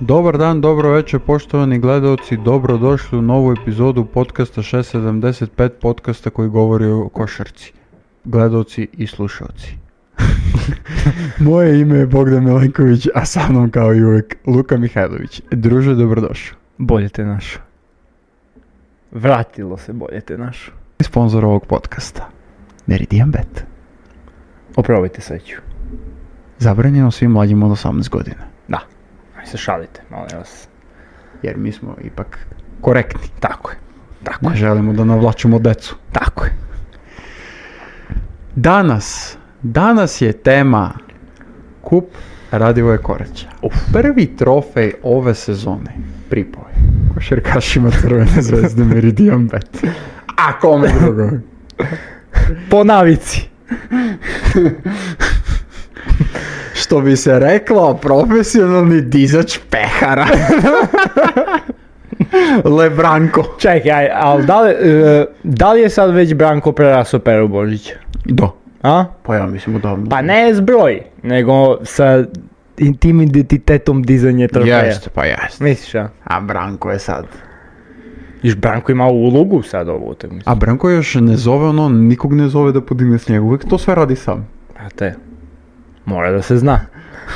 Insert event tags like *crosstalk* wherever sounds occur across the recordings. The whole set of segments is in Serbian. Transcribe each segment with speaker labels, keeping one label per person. Speaker 1: Добар дан, добро вече, поштовани гледаоци, добро дошли у нову епизоду подкаста 675, подкаста кој говори о кошарци, гледаоци
Speaker 2: *laughs*
Speaker 1: и слушаоци.
Speaker 2: Моје име е Богдан Миленковиќ, а са мном као и увек Лука Михајловиќ. Друже, добродошо.
Speaker 3: Bolje te našo. Vratilo se bolje te našo.
Speaker 2: И спонзор овог подкаста. Meridian Bet.
Speaker 3: Oprobajte sreću.
Speaker 2: Забранено свим младим од 18 година.
Speaker 3: Aj se šalite, molim vas.
Speaker 2: Јер ми смо ипак коректни.
Speaker 3: Tako je. Tako
Speaker 2: Не
Speaker 3: je.
Speaker 2: желимо да навлачимо децу.
Speaker 3: Tako je.
Speaker 2: Danas, danas je tema kup Radivoje Koraća. Prvi trofej ove sezone pripoje. Košarkašima Crvene zvezde Meridian Bet. A kome drugo?
Speaker 3: Po navici.
Speaker 2: Što bi se reklo, profesionalni dizač pehara. *laughs* Lebranko.
Speaker 3: Čekaj, aj, ali da li, e, da li je sad već Branko preraso Peru Božića?
Speaker 2: Do.
Speaker 3: A?
Speaker 2: Pa ja mislim odavno.
Speaker 3: Pa ne s broj, nego sa i- tim identitetom dizanje trofeja.
Speaker 2: Jeste, pa jeste.
Speaker 3: Misliš, a?
Speaker 2: A Branko je sad.
Speaker 3: Iš Branko ima ulogu sad ovu utakmicu.
Speaker 2: A Branko još ne zove ono, nikog ne zove da podigne s njega. Uvijek to sve radi sam.
Speaker 3: A te, mora da se zna.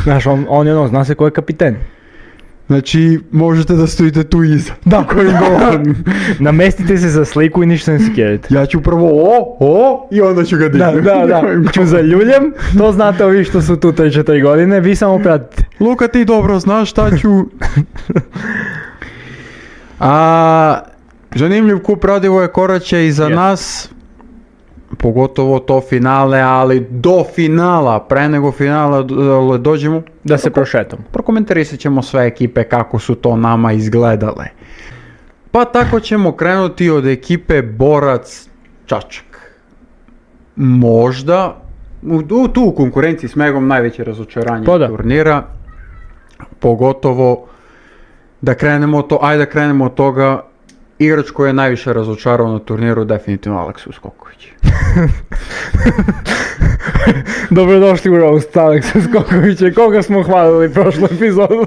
Speaker 3: Znaš, on, on je ono, zna se ko je kapiten.
Speaker 2: Znači, možete da stojite tu iza. Da, kojim govorim.
Speaker 3: *laughs* Namestite se za sliku i ništa ne skjerite.
Speaker 2: ja ću prvo o, o i onda ću ga
Speaker 3: Da,
Speaker 2: dignem.
Speaker 3: da,
Speaker 2: *laughs*
Speaker 3: da, ću za ljuljem, to znate ovi što su tu 3-4 godine, vi samo pratite.
Speaker 2: Luka, ti dobro znaš šta *laughs* ću. A, zanimljiv kup radivo je koraće i za
Speaker 3: Jeste.
Speaker 2: nas. Pogotovo to finale, ali do finala, pre nego finala do- dođemo,
Speaker 3: Da se prošetam.
Speaker 2: prokomentarisat ćemo sve ekipe kako su to nama izgledale. Pa tako ćemo krenuti od ekipe Borac Čačak. Možda, u, u- tu u konkurenciji s Megom najveće razočaranje
Speaker 3: Pa da.
Speaker 2: turnira. Pogotovo da krenemo to, ajde da krenemo od toga igrač koji je najviše razočarao na turniru definitivno Aleks
Speaker 3: *laughs*
Speaker 2: Uskoković.
Speaker 3: Dobrodošli u Roast, Aleksa Skokovića, koga smo hvalili prošlu epizodu.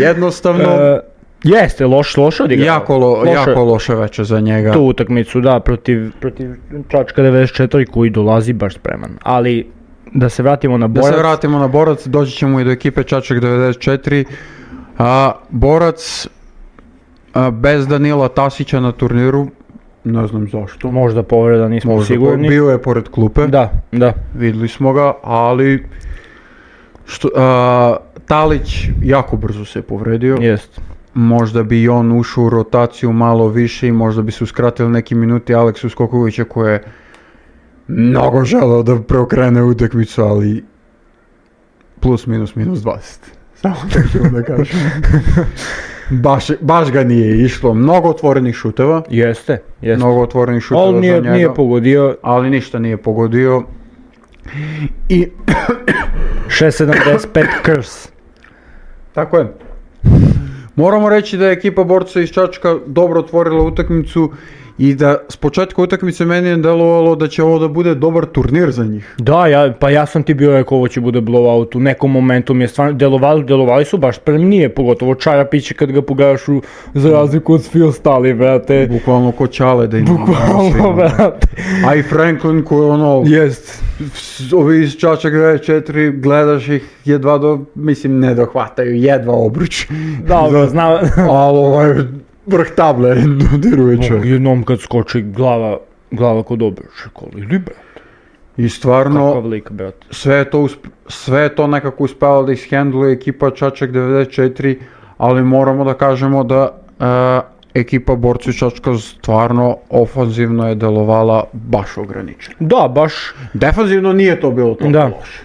Speaker 2: Jednostavno,
Speaker 3: E, jeste, loš, loš odigrao.
Speaker 2: jako, lo-
Speaker 3: E, Loše.
Speaker 2: jako loše veče za njega.
Speaker 3: Tu utakmicu, da, protiv, protiv Čačka 94 koji dolazi baš spreman. Ali, da se vratimo na
Speaker 2: Da
Speaker 3: borac.
Speaker 2: se vratimo na Borac, doći ćemo i do ekipe Čačak 94. A, borac a, bez Danila Tasića na turniru, ne znam zašto.
Speaker 3: Možda povreda, nismo
Speaker 2: Možda
Speaker 3: sigurni.
Speaker 2: bio je pored klupe,
Speaker 3: Da, da.
Speaker 2: videli smo ga, ali što, a, Talić jako brzo se povredio,
Speaker 3: Jest.
Speaker 2: možda bi i on ušao u rotaciju malo više i možda bi se uskratili neki minuti Aleksu Skokovića koji je mnogo želeo da preokrene utakmicu, ali plus minus minus 20. *laughs* Samo tako da kažem. baš, baš ga nije išlo. Mnogo otvorenih šuteva.
Speaker 3: Jeste, jeste.
Speaker 2: Mnogo otvorenih šuteva
Speaker 3: Ali nije,
Speaker 2: za njega.
Speaker 3: nije pogodio
Speaker 2: ali ništa nije pogodio. I
Speaker 3: 6.75 krs.
Speaker 2: Tako je. Moramo reći da je ekipa borca iz Čačka dobro otvorila utakmicu i da s početka utakmice meni je delovalo da će ovo da bude dobar turnir za njih.
Speaker 3: Da, ja, pa ja sam ti bio rekao ovo će bude blowout u nekom momentu mi je stvarno delovali, delovali su baš spremnije, pogotovo Čarapić kad ga pogledaš u, za razliku od svi
Speaker 2: *laughs*
Speaker 3: ostali, brate.
Speaker 2: Bukvalno ko Čale da im
Speaker 3: Bukvalno, brate.
Speaker 2: A i Franklin koji ono,
Speaker 3: Jest.
Speaker 2: s- ovi iz Čačak 4 gledaš ih jedva do, mislim ne dohvataju, jedva obruč.
Speaker 3: Da, znam.
Speaker 2: *laughs* Ali ovaj vrh table *laughs* dodiruje čovjek.
Speaker 3: Jednom kad skoči glava, glava kod obruča, koli li brate.
Speaker 2: I stvarno,
Speaker 3: Kakav lik, brate.
Speaker 2: sve je to, usp- sve je to nekako uspela da ishendluje ekipa Čačak 94, ali moramo da kažemo da e, ekipa borci Čačka stvarno ofanzivno je delovala baš ograničeno.
Speaker 3: Da, baš.
Speaker 2: Defanzivno nije to bilo toliko
Speaker 3: Da.
Speaker 2: loše.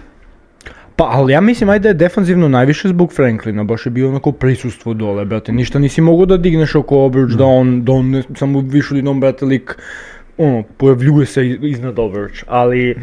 Speaker 3: Pa, ali ja mislim, ajde, defanzivno najviše zbog Franklina, baš je bio onako prisustvo dole, brate, ništa nisi mogao da digneš oko obruč, da on, da on ne, samo više jednom, brate, lik, ono, pojavljuje se iz- iznad obruč, ali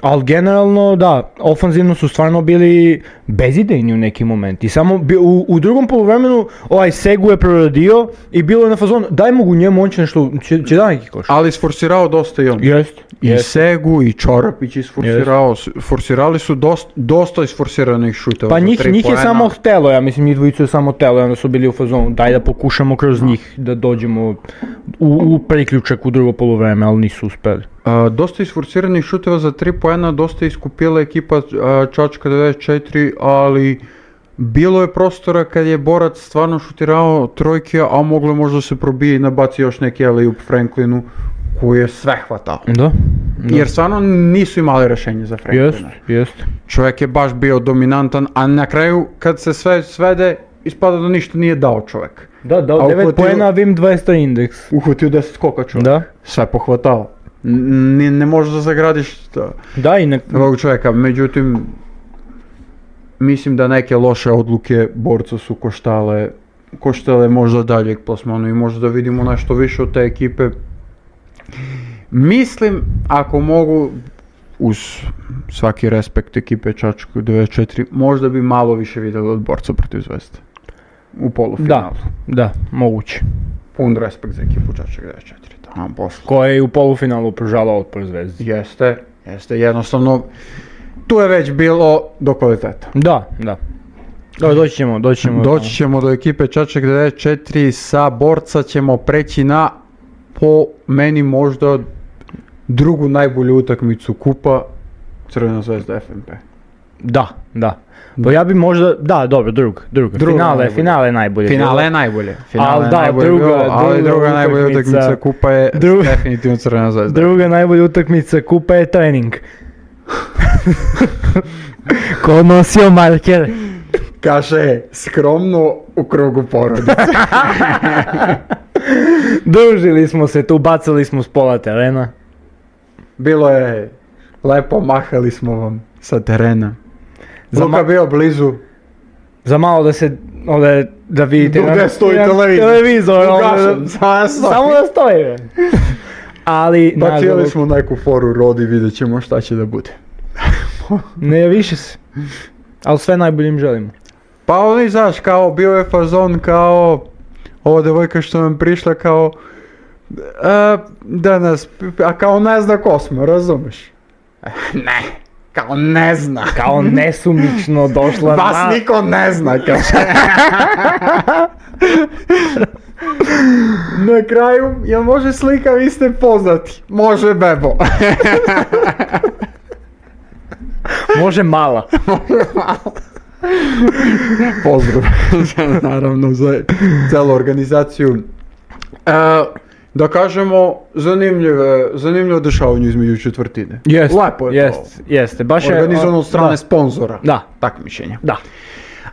Speaker 3: Ali generalno, da, ofanzivno su stvarno bili bezidejni u neki moment. I samo bi, u, u drugom polovremenu ovaj Segu je proradio i bilo je na fazon, daj mu njemu, on će nešto, će, će da neki koš.
Speaker 2: Ali sforsirao dosta i on.
Speaker 3: Jest,
Speaker 2: I
Speaker 3: jest.
Speaker 2: Segu i Čorapić isforsirao, s- forsirali su dosta, dosta isforsiranih šuteva.
Speaker 3: Pa
Speaker 2: za
Speaker 3: njih,
Speaker 2: tri
Speaker 3: njih je
Speaker 2: poena.
Speaker 3: samo htelo, ja mislim njih dvojicu je samo htelo i onda su bili u fazonu daj da pokušamo kroz njih da dođemo u, u priključak u drugo polovreme, ali nisu uspeli.
Speaker 2: A, dosta isforsiranih šuteva za 3 poena, dosta je iskupila ekipa a, Čačka 94, ali bilo je prostora kad je Borac stvarno šutirao trojke, a moglo je možda se probije i nabaci još neki alley-oop Franklinu koji je sve hvatao.
Speaker 3: Da, da.
Speaker 2: Jer stvarno nisu imali rešenje za Franklina.
Speaker 3: Jest, jest.
Speaker 2: Čovjek je baš bio dominantan, a na kraju kad se sve svede, ispada da ništa nije dao čovjek.
Speaker 3: Da, da,
Speaker 2: A
Speaker 3: 9
Speaker 2: uhvatio-
Speaker 3: poena, Vim 200 indeks.
Speaker 2: Uhvatio 10 skoka čovjek.
Speaker 3: Da,
Speaker 2: Sve pohvatao. N- ni- ne možeš da zagradiš to.
Speaker 3: da i nek...
Speaker 2: ovog čovjeka, međutim, mislim da neke loše odluke borca su koštale, koštale možda daljeg plasmanu i možda da vidimo nešto više od te ekipe. Mislim, ako mogu, uz svaki respekt ekipe Čačku 94, možda bi malo više vidjeli od borca protiv Zvezde. U
Speaker 3: Da,
Speaker 2: polufinalu.
Speaker 3: da, moguće.
Speaker 2: Pun respekt za ekipu Čačak 94. Tamo posla.
Speaker 3: Ko je i u polufinalu pružala otpor zvezdi.
Speaker 2: Jeste, jeste, jednostavno, tu je već bilo do kvaliteta.
Speaker 3: Da, da. Dobro, doći ćemo, doći ćemo.
Speaker 2: Doći ćemo do ekipe Čačak 94, sa borca ćemo preći na, po meni možda, drugu najbolju utakmicu kupa, Crvena zvezda FNP.
Speaker 3: Da, da. Pa ja bi možda, da, dobro, drug, drug.
Speaker 2: Druga
Speaker 3: finale,
Speaker 2: najbolja.
Speaker 3: finale je najbolje.
Speaker 2: Finale je najbolje. Finale
Speaker 3: Al da, druga-
Speaker 2: ali
Speaker 3: druga
Speaker 2: druga najbolja
Speaker 3: utakmica-
Speaker 2: utakmica kupa je
Speaker 3: Dru-
Speaker 2: definitivno Crvena zvezda.
Speaker 3: Druga najbolja utakmica kupa je trening. Ko nosio marker?
Speaker 2: *laughs* Kaže, skromno u krugu *laughs* porodice.
Speaker 3: Družili smo se tu, bacali smo s pola terena.
Speaker 2: Bilo je lepo, mahali smo vam sa terena.
Speaker 3: Za
Speaker 2: Luka
Speaker 3: ma-
Speaker 2: bio blizu.
Speaker 3: Za malo da se, ovdje, da vidite.
Speaker 2: Gde
Speaker 3: na-
Speaker 2: stoji
Speaker 3: na-
Speaker 2: televizor?
Speaker 3: Televizor, ono,
Speaker 2: Ugašen,
Speaker 3: da-
Speaker 2: zasno.
Speaker 3: samo da stoji. bre. Ali,
Speaker 2: Bacili
Speaker 3: nažalost,
Speaker 2: Pa smo neku foru rodi, vidjet ćemo šta će da bude.
Speaker 3: ne više se. Ali sve najboljim želimo.
Speaker 2: Pa oni, znaš, kao, bio je fazon kao, ova devojka što nam prišla kao, e, da nas, a kao ne zna ko smo, razumeš? *laughs* Ne, kao ne zna.
Speaker 3: Kao nesumično došla na...
Speaker 2: niko ne zna, kaže. *laughs* Na kraju, jel može slika, vi ste poznati. Može bebo.
Speaker 3: Može mala.
Speaker 2: Pozdrav, za- *laughs* naravno, za celu organizaciju. E, da kažemo, zanimljive, zanimljivo dešavanje između četvrtine.
Speaker 3: Jest,
Speaker 2: Lepo je
Speaker 3: jest, jeste. Baš
Speaker 2: to.
Speaker 3: je-
Speaker 2: Organizovano od strane
Speaker 3: da,
Speaker 2: sponzora.
Speaker 3: Da,
Speaker 2: Takmišenja.
Speaker 3: da.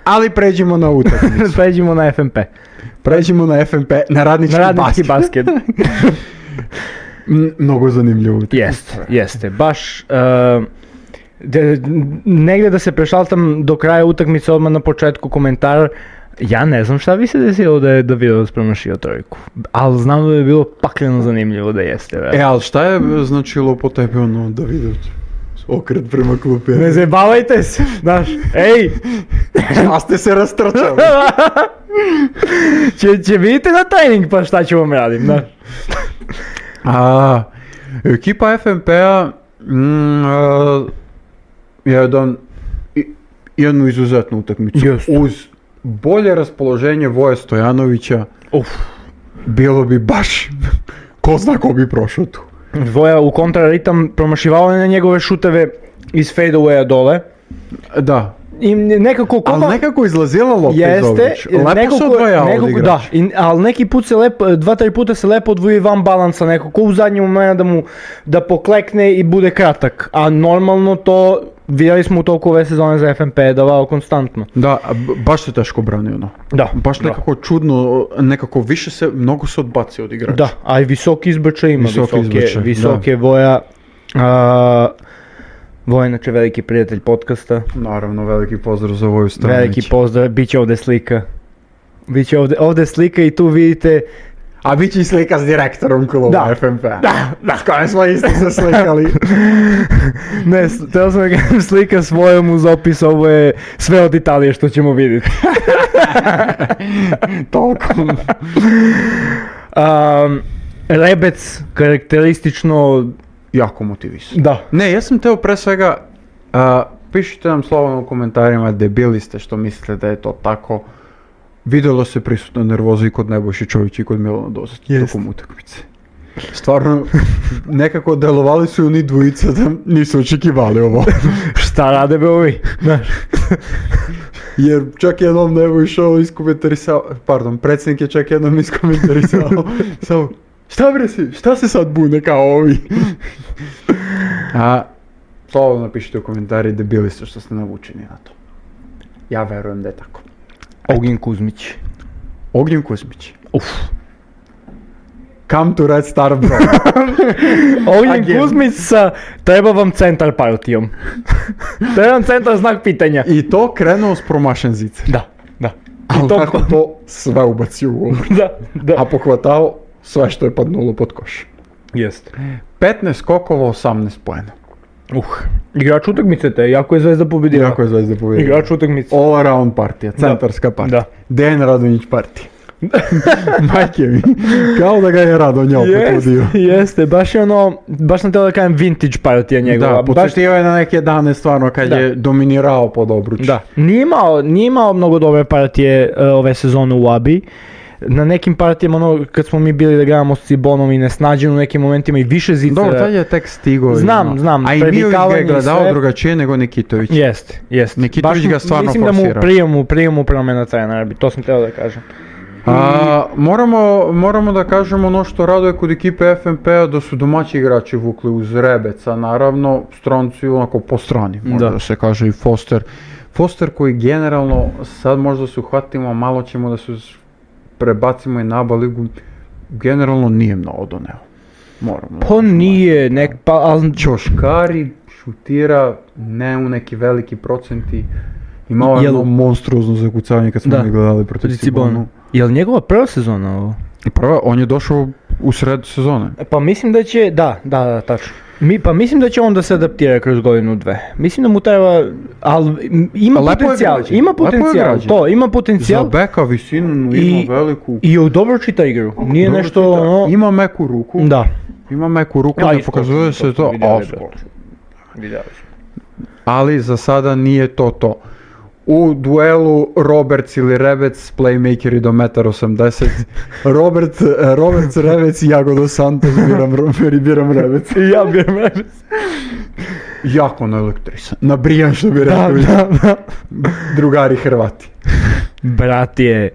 Speaker 2: Ali pređimo na utakmicu.
Speaker 3: *laughs* Pređimo na FMP.
Speaker 2: *laughs* Pređimo na FNP, na radnički,
Speaker 3: Na radnički
Speaker 2: basket.
Speaker 3: *laughs* basket.
Speaker 2: M, Mnogo zanimljivo.
Speaker 3: Jeste, jeste. Baš... e, de- negde da se prešaltam do kraja utakmice odmah na početku komentar ja ne znam šta bi se desilo da je Davidovac promašio trojku, ali znam da je bilo pakleno zanimljivo da jeste.
Speaker 2: E,
Speaker 3: Ve.
Speaker 2: ali šta je značilo po tebi ono Davidović? Okret prema klupi.
Speaker 3: E, Ne zebavajte se, znaš, ej,
Speaker 2: a ste se
Speaker 3: *laughs*
Speaker 2: rastrčali.
Speaker 3: će, će vidite na tajning pa šta ću vam radim, znaš.
Speaker 2: a, ekipa FNP-a mm, a, jedan, i- jednu izuzetnu utakmicu.
Speaker 3: Jeste.
Speaker 2: Uz bolje raspoloženje Voje Stojanovića
Speaker 3: Uf.
Speaker 2: bilo bi baš *laughs* ko zna ko bi prošao tu.
Speaker 3: Voja u kontraritam promašivao je na njegove šuteve iz fadeawaya dole.
Speaker 2: Da,
Speaker 3: I nekako kopa...
Speaker 2: ali nekako izlazila lopta iz Dobrić. Lepo
Speaker 3: nekako-
Speaker 2: se odvajao od
Speaker 3: nekako- Da,
Speaker 2: igrača.
Speaker 3: i, ali neki put se lepo, dva, tri puta se lepo odvoji van balansa nekako u zadnji moment da mu da poklekne i bude kratak. A normalno to vidjeli smo u toku ove sezone za FNP je davao konstantno.
Speaker 2: Da, a b- baš se teško brani ono.
Speaker 3: Da,
Speaker 2: Baš
Speaker 3: da.
Speaker 2: nekako čudno, nekako više se, mnogo se odbacio od igrača.
Speaker 3: Da, a i visoki izbrčaj ima,
Speaker 2: Visoki
Speaker 3: visoke,
Speaker 2: izbačaj,
Speaker 3: visoke voja. A, voja je inače veliki prijatelj podcasta.
Speaker 2: Naravno, veliki pozdrav za Voju Stanović.
Speaker 3: Veliki pozdrav, bit će ovdje slika. Bit će ovdje, ovdje slika i tu vidite
Speaker 2: A bit će i slika s direktorom kluba
Speaker 3: Da.
Speaker 2: FNP.
Speaker 3: Da, da.
Speaker 2: S kojim smo isto se *laughs* slikali.
Speaker 3: Ne, s- teo sam da kažem slika svojom uz opis, ovo je sve od Italije što ćemo vidjeti.
Speaker 2: Toliko.
Speaker 3: Um, rebec, karakteristično,
Speaker 2: jako motivisan.
Speaker 3: da.
Speaker 2: Ne, ja sam teo pre svega, a, pišite nam slobodno u komentarima debili ste što mislite da je to tako. Videlo se prisutna nervoza i kod Nebojše Čovića i kod Milana Dozat
Speaker 3: Jest.
Speaker 2: tokom utakmice. Stvarno, *laughs* nekako delovali su i oni dvojica da nisu očekivali ovo.
Speaker 3: Šta rade be ovi? Znaš,
Speaker 2: Jer čak jednom nebo išao iskomentarisao, pardon, predsjednik je čak jednom iskomentarisao, *laughs* samo, šta bre si, šta se sad bune kao ovi? *laughs* A, slobodno napišite u komentari debili ste što ste navučeni na to. Ja verujem da je tako.
Speaker 3: Ognjen Kuzmić.
Speaker 2: Ognjen Kuzmić.
Speaker 3: Uf.
Speaker 2: Come to Red Star Bro.
Speaker 3: Ognjen
Speaker 2: Again.
Speaker 3: Kuzmić sa treba vam centar partijom. *laughs* treba vam centar znak pitanja.
Speaker 2: *laughs* I to krenuo s promašen zice.
Speaker 3: Da, da.
Speaker 2: *laughs* Ali
Speaker 3: to-
Speaker 2: tako to sve ubacio u ovu.
Speaker 3: *laughs* Da, da.
Speaker 2: A pohvatao sve što je padnulo pod koš.
Speaker 3: Jest.
Speaker 2: 15 skokova, 18 poena.
Speaker 3: Uh, igrač utakmice te, jako je Zvezda pobedila.
Speaker 2: Jako je Zvezda pobjedila.
Speaker 3: Igrač utakmice.
Speaker 2: All around partija, centarska partija.
Speaker 3: Da.
Speaker 2: Dejan Radonjić partija. *laughs* Majke mi, kao da ga je Radonja opet
Speaker 3: Jest,
Speaker 2: udio.
Speaker 3: *laughs* jeste, baš je ono, baš sam teo da kažem vintage partija njegova.
Speaker 2: Da,
Speaker 3: baš,
Speaker 2: podsjetio je na neke dane stvarno kad
Speaker 3: Da.
Speaker 2: je dominirao pod obruč.
Speaker 3: da. Nije imao, nije imao mnogo dobre partije e, ove sezone u Abi. Na nekim partijama, ono, kad smo mi bili da gledamo s Cibonom i nesnađen u nekim momentima i više zica.
Speaker 2: Dobro, tad je tek stigo.
Speaker 3: Znam,
Speaker 2: ono.
Speaker 3: znam,
Speaker 2: A i Miović ga
Speaker 3: previkavanje
Speaker 2: je
Speaker 3: i
Speaker 2: gledao
Speaker 3: sve.
Speaker 2: drugačije nego Nikitović.
Speaker 3: Jest, jest.
Speaker 2: Nikitović
Speaker 3: Baš
Speaker 2: ga stvarno
Speaker 3: Mislim da mu
Speaker 2: forsira.
Speaker 3: u prijemu, u prijemu promena trenera, bi, to sam teo da kažem.
Speaker 2: A, moramo, moramo da kažemo ono što raduje kod ekipe FNP-a da su domaći igrači vukli uz Rebeca, naravno, stranci onako po strani, možda
Speaker 3: Da.
Speaker 2: da. se kaže i Foster. Foster koji generalno, sad možda se uhvatimo, malo ćemo da se s- prebacimo i na ABA ligu, generalno nije mnogo doneo. Moramo.
Speaker 3: Pa nije, nek, pa, ali
Speaker 2: Ćoškari šutira ne u neki veliki procenti. Imao je
Speaker 3: Jel-
Speaker 2: jedno monstruozno zakucavanje kad smo
Speaker 3: Da.
Speaker 2: mi gledali protiv Cibonu.
Speaker 3: Jel njegova prva sezona ovo?
Speaker 2: I Prva, on je došao u sred sezone.
Speaker 3: Pa mislim da će, da, da, da, tačno. Mi, pa mislim da će on da se adaptira kroz godinu dve. Mislim da mu treba, ali m, ima
Speaker 2: Pa lepo je
Speaker 3: potencijal,
Speaker 2: građen,
Speaker 3: ima
Speaker 2: lepo je
Speaker 3: potencijal,
Speaker 2: građen.
Speaker 3: to, ima
Speaker 2: Za
Speaker 3: potencijal
Speaker 2: beka visinu
Speaker 3: I-
Speaker 2: ima veliku.
Speaker 3: i u dobro čita igru. Nije
Speaker 2: Dobro
Speaker 3: nešto
Speaker 2: čita.
Speaker 3: ono,
Speaker 2: Ima meku ruku.
Speaker 3: da.
Speaker 2: Ima meku ruku,
Speaker 3: A, i
Speaker 2: ne pokazuje
Speaker 3: skoči,
Speaker 2: se to.
Speaker 3: vidjeli,
Speaker 2: a,
Speaker 3: brate.
Speaker 2: skoči. Ali za sada nije to to. U duelu Roberts ili Rebec, playmakeri do
Speaker 3: *laughs*
Speaker 2: 1,80 m. Robert, eh, Roberts, Rebec i Jago dos Santos, biram, Ro- biram
Speaker 3: *laughs*
Speaker 2: Rebec.
Speaker 3: I ja bi
Speaker 2: *laughs*
Speaker 3: rekao.
Speaker 2: Jako naelektrisan. Nabrijan što bi
Speaker 3: Da,
Speaker 2: rekao
Speaker 3: da, da.
Speaker 2: drugari Hrvati.
Speaker 3: Brat je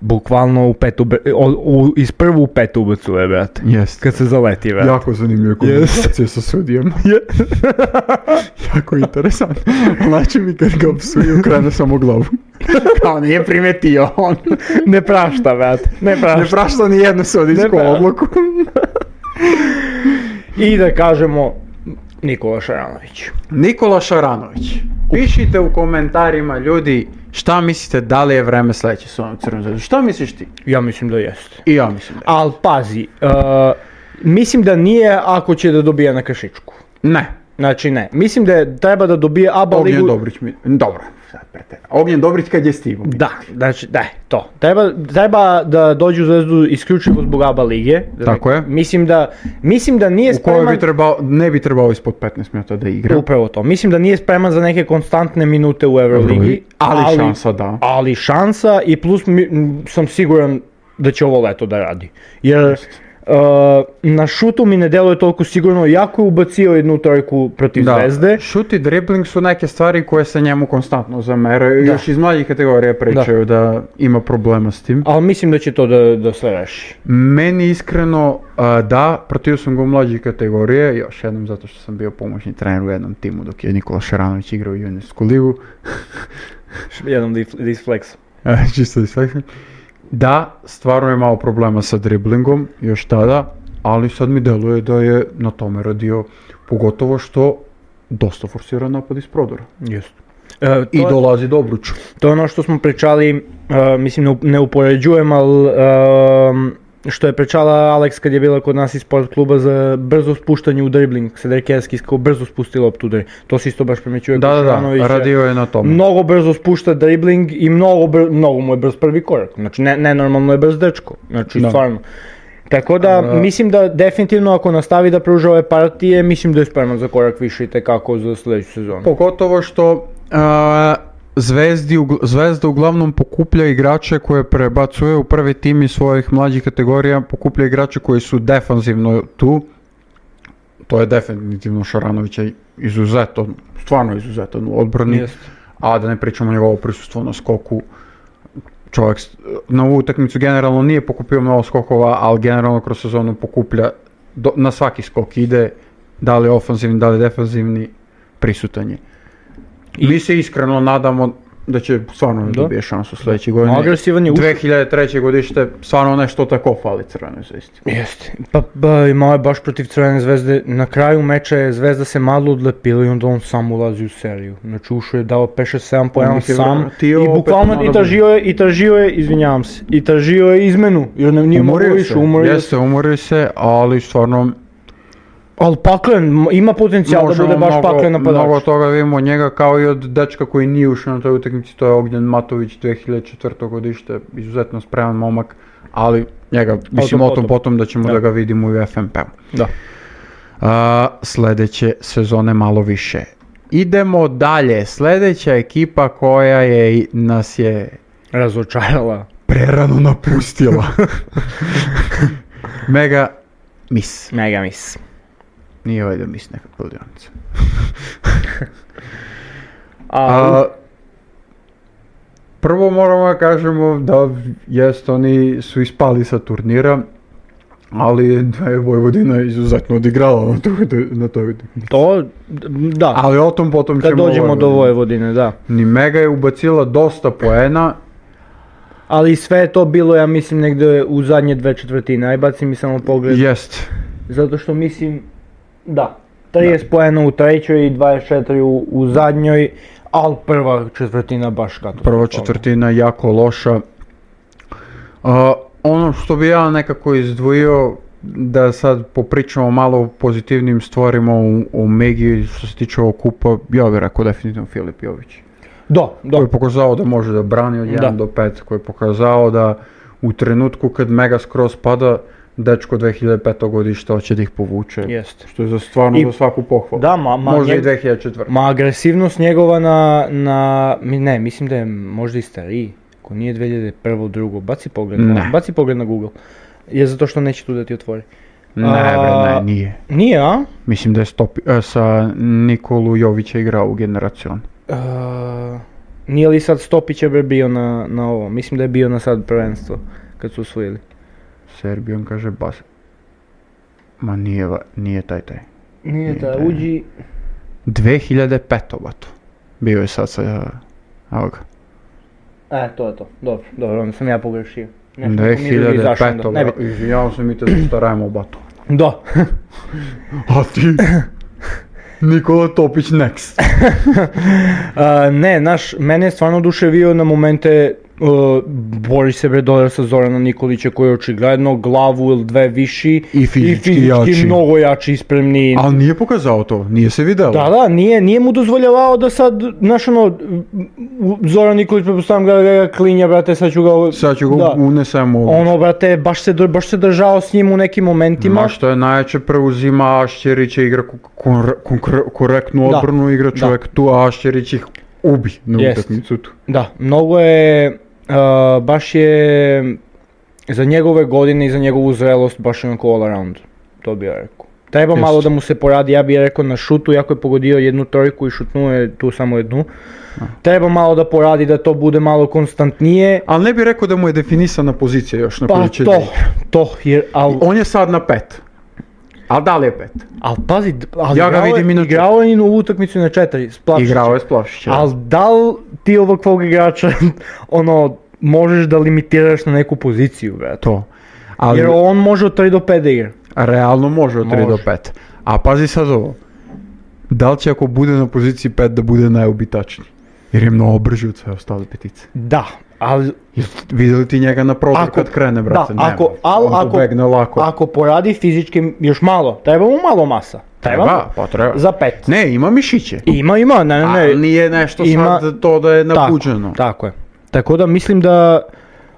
Speaker 3: bukvalno u petu, br- o- u, iz prvu u petu ubacuje, brate.
Speaker 2: Jeste.
Speaker 3: Kad se zaleti, brate.
Speaker 2: Jako zanimljive konverzacije sa *laughs* sudijama. jako interesant. Znači mi kad ga psuju, krene samo *laughs* glavu. Kao nije primetio on.
Speaker 3: *laughs* Ne prašta, brate, ne prašta.
Speaker 2: Ne prašta ni jednu
Speaker 3: Ne
Speaker 2: sudijsku *laughs*
Speaker 3: prašta.
Speaker 2: odluku.
Speaker 3: I da kažemo Nikola Šaranović.
Speaker 2: Nikola Šaranović. Pišite u komentarima ljudi šta mislite da li je vreme sledeće s ovom crnom zvezdom. Šta misliš ti?
Speaker 3: Ja mislim da jeste.
Speaker 2: I ja mislim da je.
Speaker 3: Ali pazi, uh, mislim da nije ako će da dobije na kašičku.
Speaker 2: Ne.
Speaker 3: Znači ne, mislim da je, treba da dobije ABA
Speaker 2: Ognjen
Speaker 3: ligu...
Speaker 2: Dobrić mi... Dobro. sad pretera- Ognjen Dobrić kad je stigo.
Speaker 3: Da, znači, da, to. Treba, treba da dođe u zvezdu isključivo zbog ABA lige.
Speaker 2: Tako je.
Speaker 3: Mislim da, mislim da nije
Speaker 2: U kojoj
Speaker 3: spreman...
Speaker 2: bi trebao, ne bi trebao ispod 15 minuta da igra.
Speaker 3: Upravo to. Mislim da nije spreman za neke konstantne minute u Euroligi.
Speaker 2: Ali šansa da.
Speaker 3: ali šansa i plus mi, m, sam siguran da će ovo leto da radi. Jer uh, na šutu mi ne deluje toliko sigurno, jako je ubacio jednu trojku protiv Zvezde.
Speaker 2: Šut i dribbling su neke stvari koje se njemu konstantno zameraju.
Speaker 3: Da.
Speaker 2: Još iz mlađih kategorija pričaju da. ima problema s tim.
Speaker 3: Ali mislim da će to da, da sve reši.
Speaker 2: Meni iskreno a, da, pratio sam ga u mlađih kategorije, još jednom zato što sam bio pomoćni trener u jednom timu dok je Nikola Šaranović igrao u juniorsku ligu. *laughs*
Speaker 3: Jednom disflex.
Speaker 2: E, Čisto da istaknem. Da, stvarno je malo problema sa driblingom, još tada, ali sad mi deluje da je na tome radio, pogotovo što dosta forsira napad iz prodora.
Speaker 3: Just. E,
Speaker 2: I
Speaker 3: to,
Speaker 2: dolazi do obruča.
Speaker 3: to je ono što smo pričali, e, mislim ne, u- ne upoređujem, ali e, što je prečala Alex kad je bila kod nas iz sport kluba za brzo spuštanje u dribling, se Derkeski kao brzo spusti loptu u dribling. To se isto baš primećuje
Speaker 2: Da,
Speaker 3: kod
Speaker 2: da,
Speaker 3: Šanovića.
Speaker 2: da, radio je na tome.
Speaker 3: Mnogo brzo spušta dribling i mnogo, br- mnogo mu je brz prvi korak. Znači, ne, nenormalno je brz dečko. Znači,
Speaker 2: Da.
Speaker 3: stvarno. Tako da, mislim da definitivno ako nastavi da pruža ove partije, mislim da je spreman za korak više i tekako za sljedeću sezonu.
Speaker 2: Pa, Pogotovo što a, zvezdi, ugl- zvezda uglavnom pokuplja igrače koje prebacuje u prvi tim iz svojih mlađih kategorija, pokuplja igrače koji su defanzivno tu. To je definitivno Šaranović je izuzetan, stvarno izuzetan u odbrani.
Speaker 3: Jeste.
Speaker 2: A da ne pričamo o njegovo prisustvo na skoku. Čovjek s- na ovu utakmicu generalno nije pokupio mnogo skokova, ali generalno kroz sezonu pokuplja do- na svaki skok ide, da li ofanzivni, da li defanzivni, prisutan je. Mi se iskreno nadamo da će stvarno da.
Speaker 3: Da.
Speaker 2: dobije šansu sljedeće godine.
Speaker 3: Agresivan je, ušao
Speaker 2: 2003. godište, stvarno nešto tako fali crvenoj zvezdi.
Speaker 3: Jeste. Pa, pa imao je baš protiv Crvene zvezde. Na kraju meča je zvezda se malo odlepila i onda on sam ulazi u seriju. Znači ušao je dao 5-6-7 po
Speaker 2: On
Speaker 3: jedan
Speaker 2: ih je
Speaker 3: sam. I
Speaker 2: vratio, opet
Speaker 3: bukvalno
Speaker 2: malo
Speaker 3: i tražio je, i tražio je, izvinjavam se, i tražio je izmenu. Jer ne, nije mogo više, umorio se.
Speaker 2: Jeste, umorio se, ali stvarno
Speaker 3: Ali paklen, m- ima potencijal da bude baš paklen napadač.
Speaker 2: Mnogo toga vidimo od njega kao i od dečka koji nije ušao na toj utakmici, to je Ognjen Matović 2004. godište, izuzetno spreman momak, ali njega mislim o tom
Speaker 3: potom.
Speaker 2: potom da ćemo
Speaker 3: Da.
Speaker 2: da ga vidimo i u FNP.
Speaker 3: Da.
Speaker 2: A, sljedeće sezone malo više. Idemo dalje, sljedeća ekipa koja je nas je
Speaker 3: Razočarala.
Speaker 2: prerano
Speaker 3: *laughs*
Speaker 2: napustila. Mega mis.
Speaker 3: Mega mis.
Speaker 2: Nije ovaj da mis neka kladionica.
Speaker 3: A,
Speaker 2: A, prvo moramo da kažemo da jest oni su ispali sa turnira, ali da je Vojvodina izuzetno odigrala na toj, na toj utakmici.
Speaker 3: to, da.
Speaker 2: Ali o tom potom
Speaker 3: kad
Speaker 2: ćemo...
Speaker 3: dođemo do
Speaker 2: Vojvodini.
Speaker 3: Vojvodine, da.
Speaker 2: Ni Mega je ubacila dosta poena,
Speaker 3: Ali sve je to bilo, ja mislim, negdje u zadnje dve četvrtine. Aj, baci mi samo pogled.
Speaker 2: jest.
Speaker 3: Zato što mislim, da, 30 poena u trećoj i 24 u, u zadnjoj, ali prva četvrtina baš katastrofalna.
Speaker 2: Prva četvrtina jako loša. A, ono što bi ja nekako izdvojio da sad popričamo malo o pozitivnim stvarima u, u Megi što se tiče ovog kupa, ja bih rekao definitivno Filip Jović.
Speaker 3: Da, da.
Speaker 2: koji je pokazao da može da brani od 1
Speaker 3: Da.
Speaker 2: do 5, koji je pokazao da u trenutku kad Mega Skroz pada, dečko 2005. godište hoće da ih povuče.
Speaker 3: Jeste.
Speaker 2: Što je za stvarno
Speaker 3: I-
Speaker 2: za svaku pohvalu.
Speaker 3: Da, ma, ma,
Speaker 2: Možda i
Speaker 3: njeg-
Speaker 2: 2004.
Speaker 3: ma agresivnost njegova na, na, mi- ne, mislim da je možda i stariji, ko nije 2001. drugo, baci pogled, na,
Speaker 2: Ne.
Speaker 3: baci pogled na Google, je zato što neće tu da ti otvori.
Speaker 2: ne, bre,
Speaker 3: a-
Speaker 2: ne, nije.
Speaker 3: Nije, a?
Speaker 2: Mislim da je stopi, e, sa Nikolu Jovića igrao u generacion.
Speaker 3: E, nije li sad Stopić je bre bio na, na ovo, mislim da je bio na sad prvenstvo, kad su osvojili.
Speaker 2: Serbijom kaže bas. Ma nije, va- nije taj taj.
Speaker 3: Nije,
Speaker 2: da,
Speaker 3: da, uđi,
Speaker 2: 2005. bato. Bio je sad sa... e, Evo ga.
Speaker 3: E, to je to. Dobro, dobro, onda sam ja pogrešio. Nešto neko mi je drugi izašao onda.
Speaker 2: 2005.
Speaker 3: Ne bitno.
Speaker 2: bra- Izvinjavam se mi te zastarajemo
Speaker 3: *coughs*
Speaker 2: bato.
Speaker 3: Da.
Speaker 2: A ti? *coughs* Nikola Topić
Speaker 3: *coughs*
Speaker 2: next.
Speaker 3: A, ne, naš, mene je stvarno oduševio na momente uh, Boris se bre dodao sa Zorana Nikolića koji je očigledno glavu ili dve viši
Speaker 2: I fizički jači.
Speaker 3: mnogo jači i spremniji.
Speaker 2: Ali nije pokazao to, nije se videlo.
Speaker 3: Da, da, nije, nije mu dozvoljavao da sad, znaš ono, u- Zoran Nikolić, prepostavljam ga, ga, ga klinja, brate, sad ću ga...
Speaker 2: Sad ću ga
Speaker 3: da.
Speaker 2: unesem u...
Speaker 3: Ono, brate, baš se, dr- baš se držao s njim u nekim momentima.
Speaker 2: Ma što je najjače preuzima Ašćerića, igra ko- kon- kon- korektnu
Speaker 3: Da.
Speaker 2: odbranu, igra čovjek tu, a Ašćerić ih ubi na
Speaker 3: Jest.
Speaker 2: utakmicu tu.
Speaker 3: Da, mnogo je, uh, baš je, za njegove godine i za njegovu zrelost baš je onako all around, to bi ja rekao. Treba
Speaker 2: Jest.
Speaker 3: malo da mu se poradi, ja bih rekao na šutu, jako je pogodio jednu trojku i šutnuo je tu samo jednu. Treba malo da poradi da to bude malo konstantnije.
Speaker 2: Ali ne bih rekao da mu je definisana pozicija još na
Speaker 3: Pa
Speaker 2: kojoj će da
Speaker 3: to,
Speaker 2: igra.
Speaker 3: to, jer, al,
Speaker 2: On je sad na pet. A da li je pet?
Speaker 3: al pazi, d- al
Speaker 2: Ja ga
Speaker 3: igrao je-
Speaker 2: vidim i na
Speaker 3: igrao je i na ovu utakmicu i na četiri, splašio
Speaker 2: Igrao je s Plašićem.
Speaker 3: Ali da li ti ovakvog igrača, *laughs* ono, možeš da limitiraš na neku poziciju, brate?
Speaker 2: To. Ali...
Speaker 3: Jer on može od 3 do 5 da igra.
Speaker 2: Realno može od 3 do
Speaker 3: Može.
Speaker 2: 5. A pazi sad ovo. Da li će ako bude na poziciji 5 da bude najubitačniji? Jer je mnogo brži od sve ostale petice.
Speaker 3: Da, Ali,
Speaker 2: Видели ти njega na prodor
Speaker 3: Ако-
Speaker 2: kad krene, brate?
Speaker 3: да, ако,
Speaker 2: Nema.
Speaker 3: ал,
Speaker 2: On
Speaker 3: ако,
Speaker 2: pobegne lako.
Speaker 3: ako poradi fizički još malo, treba mu malo masa. Treba, mu.
Speaker 2: Treba, pa treba.
Speaker 3: Za pet.
Speaker 2: Ne, ima mišiće.
Speaker 3: Ima, ima, ne, ne, ne.
Speaker 2: Ali nije nešto
Speaker 3: Ima-
Speaker 2: sad to da je
Speaker 3: Tako,
Speaker 2: napuđeno.
Speaker 3: tako je. Tako da mislim da,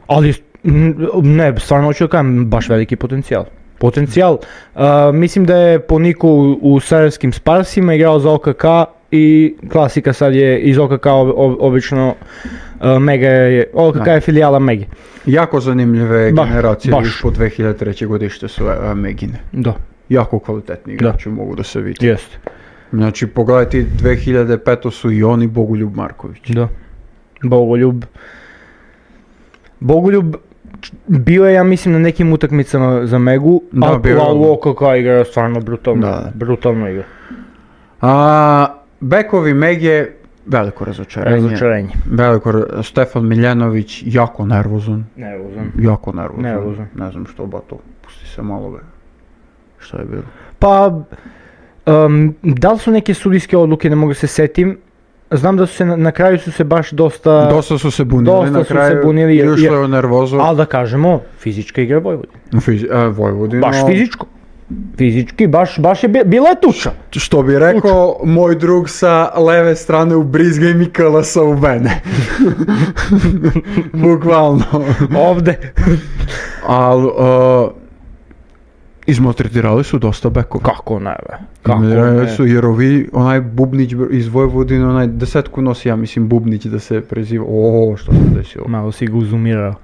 Speaker 3: ali m, ne, stvarno hoću da kažem, baš veliki potencijal. Potencijal, A, mislim da je po Niku u, u sarajevskim Sparsima igrao za OKK i klasika sad je iz OKK ob- ob- obično a, Mega je, OKK je filijala Mege.
Speaker 2: Jako zanimljive
Speaker 3: Baš,
Speaker 2: generacije,
Speaker 3: baš.
Speaker 2: viš po 2003. godište su e, Megine.
Speaker 3: Da,
Speaker 2: Jako kvalitetni igrači mogu da se vidi.
Speaker 3: jeste.
Speaker 2: Znači, pogledajte, 2005. su i oni Bogoljub Marković.
Speaker 3: Da. Bogoljub. Bogoljub č- bio je, ja mislim, na nekim utakmicama za Megu,
Speaker 2: Da,
Speaker 3: ali
Speaker 2: bio je
Speaker 3: Bilal
Speaker 2: on.
Speaker 3: Walker kao igra je stvarno brutalno,
Speaker 2: Da.
Speaker 3: brutalno igra.
Speaker 2: A, Bekovi Megje, veliko razočarenje.
Speaker 3: Razočarenje.
Speaker 2: Veliko, ra- Stefan Miljanović, jako nervozan.
Speaker 3: Nervozan.
Speaker 2: Jako nervozan.
Speaker 3: Nervozan.
Speaker 2: Ne znam što ba to, pusti se malo be. Šta je bilo?
Speaker 3: Pa, em, da li su neke sudijske odluke, ne mogu se setim. Znam da su se, na, na kraju su se baš dosta,
Speaker 2: Pa, Dosta su se bunili
Speaker 3: dosta
Speaker 2: na
Speaker 3: su se
Speaker 2: kraju.
Speaker 3: bunili jer-
Speaker 2: Išlo
Speaker 3: jer-
Speaker 2: je u nervozu.
Speaker 3: ali da kažemo, fizička igra Vojvodina.
Speaker 2: Fiz, e, Vojvodina.
Speaker 3: Baš fizičko. Fizički, baš, baš je, bi- bila je tuča.
Speaker 2: Što bi rekao moj drug sa leve strane u Brizga i Mikala sa u *laughs* mene. Bukvalno.
Speaker 3: Ovde.
Speaker 2: Ali, izmotritirali e, su dosta bekova.
Speaker 3: *laughs* Kako ne, be? Kako
Speaker 2: Izmotritirali
Speaker 3: ne?
Speaker 2: su, jer ovi, onaj Bubnić iz Vojvodine, onaj desetku nosi, ja mislim, Bubnić da se preziva. O, što se desilo?
Speaker 3: Malo si ga uzumirao.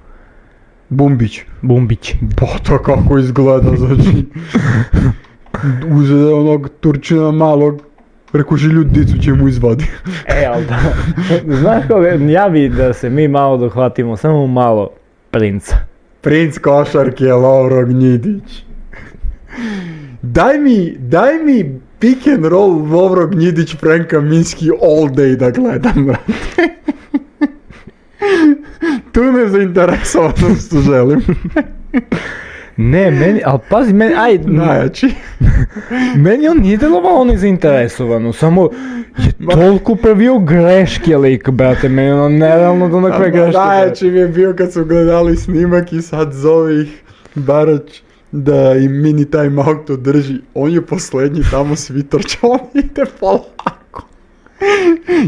Speaker 2: Bumbić.
Speaker 3: Bumbić.
Speaker 2: Pa to kako izgleda, *laughs* znači. Uzede onog Turčina malog, rekože ljudicu će mu izvadi.
Speaker 3: E, ali da, *laughs* znaš koga, ja bi da se mi malo dohvatimo, samo malo princa.
Speaker 2: Princ košarke Lovro Gnjidić. Daj mi, daj mi pick and roll Lovro Gnjidić Franka Minski all day da gledam, brate. *laughs* tu ne zainteresovanost želim.
Speaker 3: Ne, meni, ali pazi, meni, aj,
Speaker 2: Najjači.
Speaker 3: meni on nije delovao nezainteresovano, samo je toliko pravio greške lik, brate, meni ono nerealno do onakve greške. brate.
Speaker 2: Najjači mi je bio kad su gledali snimak i sad zove ih Barać da im mini time out održi. On je poslednji tamo svi trče, on ide polako.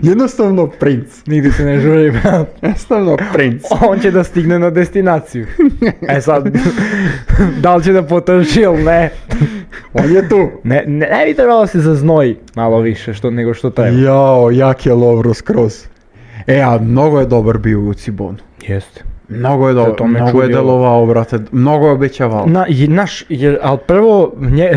Speaker 2: Jednostavno princ.
Speaker 3: Nigdje se ne žuri, brate.
Speaker 2: Jednostavno princ.
Speaker 3: On će da stigne na destinaciju.
Speaker 2: *laughs*
Speaker 3: E sad, da li će da potrši ili ne?
Speaker 2: On je tu.
Speaker 3: Ne, ne, ne bi trebalo da se zaznoji malo više što, nego što treba.
Speaker 2: Jao, jak je Lovro skroz. E, a mnogo je dobar bio u Cibonu.
Speaker 3: Jeste.
Speaker 2: Mnogo je dobar,
Speaker 3: to me
Speaker 2: mnogo je
Speaker 3: čudilo.
Speaker 2: delovao, brate, mnogo je obećavao.
Speaker 3: Na, i, naš, jer, ali prvo nje, e,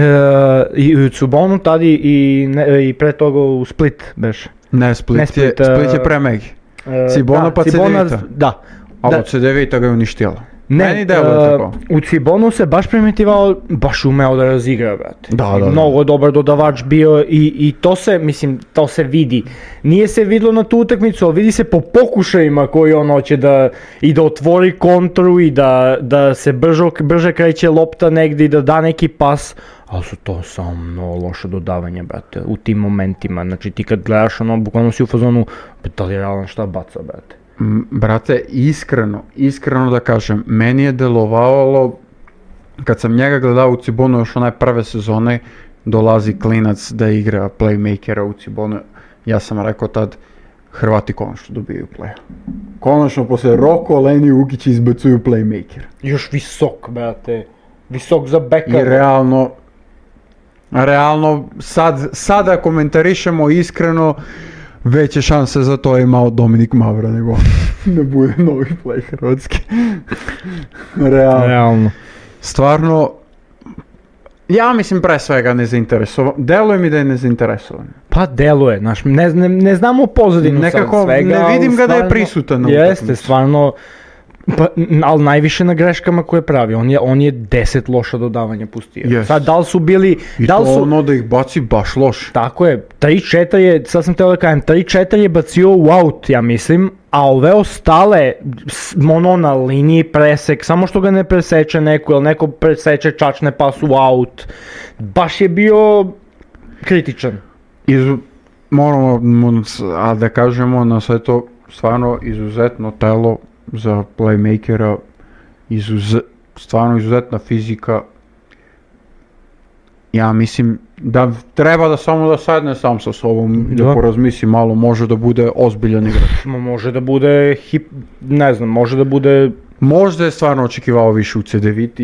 Speaker 3: i u Cubonu tadi i, ne, i pre toga u Split beš. E,
Speaker 2: Ne, Split,
Speaker 3: Ne, Split,
Speaker 2: je,
Speaker 3: a-
Speaker 2: Split je premeg.
Speaker 3: E,
Speaker 2: Cibona
Speaker 3: da,
Speaker 2: pa
Speaker 3: Cibona,
Speaker 2: Cedevita.
Speaker 3: Da.
Speaker 2: A
Speaker 3: Da.
Speaker 2: od CDV-ta ga je uništila.
Speaker 3: Ne,
Speaker 2: Meni deluje
Speaker 3: e,
Speaker 2: tako.
Speaker 3: u Cibonu se baš primitivao, baš umeo da razigra, brate.
Speaker 2: Da, da, da.
Speaker 3: Mnogo dobar dodavač bio i, i to se, mislim, to se vidi. Nije se vidlo na tu utakmicu, ali vidi se po pokušajima koji on hoće da i da otvori kontru i da, da se brže, brže kreće lopta negdje i da da neki pas. Ali su to samo mnogo loše dodavanje, brate, u tim momentima. Znači ti kad gledaš ono, bukvalno si u fazonu, "Pa da li je realan šta baca, brate?
Speaker 2: M, Brate, iskreno, iskreno da kažem, meni je delovalo, kad sam njega gledao u Cibonu još onaj prve sezone, dolazi klinac da igra playmakera u Cibonu, ja sam rekao tad, Hrvati konačno dobiju play. Konačno posle Roko, Leni Ukić izbacuju playmaker.
Speaker 3: Još visok, brate. Visok za beka.
Speaker 2: I realno, realno, sad, sada komentarišemo iskreno, veće šanse za to je imao Dominik Mavra nego *laughs* da bude novi play Hrvatske. *laughs* realno.
Speaker 3: Realno.
Speaker 2: Stvarno, ja mislim pre svega nezainteresovan. Deluje mi da je nezainteresovan.
Speaker 3: Pa deluje, znaš, ne, ne, ne znamo pozadinu
Speaker 2: Nekako
Speaker 3: sad svega.
Speaker 2: ne
Speaker 3: ali
Speaker 2: vidim ga da je
Speaker 3: stvarno-
Speaker 2: prisutan na
Speaker 3: Jeste,
Speaker 2: utakmici.
Speaker 3: stvarno, pa, n- ali najviše na greškama koje pravi. On je, on je 10 loša dodavanja pustio.
Speaker 2: Jeste.
Speaker 3: Sad, da li su bili,
Speaker 2: I
Speaker 3: da li
Speaker 2: to
Speaker 3: su...
Speaker 2: ono da ih baci baš loše.
Speaker 3: Tako je, 3-4 je, sad sam teo da kažem, 3-4 je bacio u out, ja mislim, a ove ostale, s- ono na liniji presek, samo što ga ne preseče neko, ili neko preseče čačne pas u out, baš je bio kritičan.
Speaker 2: Izu, moramo mu s- a da kažemo na sve to stvarno izuzetno telo za playmakera, izuzet, stvarno izuzetna fizika. Ja mislim da treba da samo da sadne sam sa sobom i da,
Speaker 3: Da.
Speaker 2: porazmisli malo, može da bude ozbiljan igrač.
Speaker 3: Ma može da bude hip, ne znam, može da bude...
Speaker 2: Možda je stvarno očekivao više u CDVT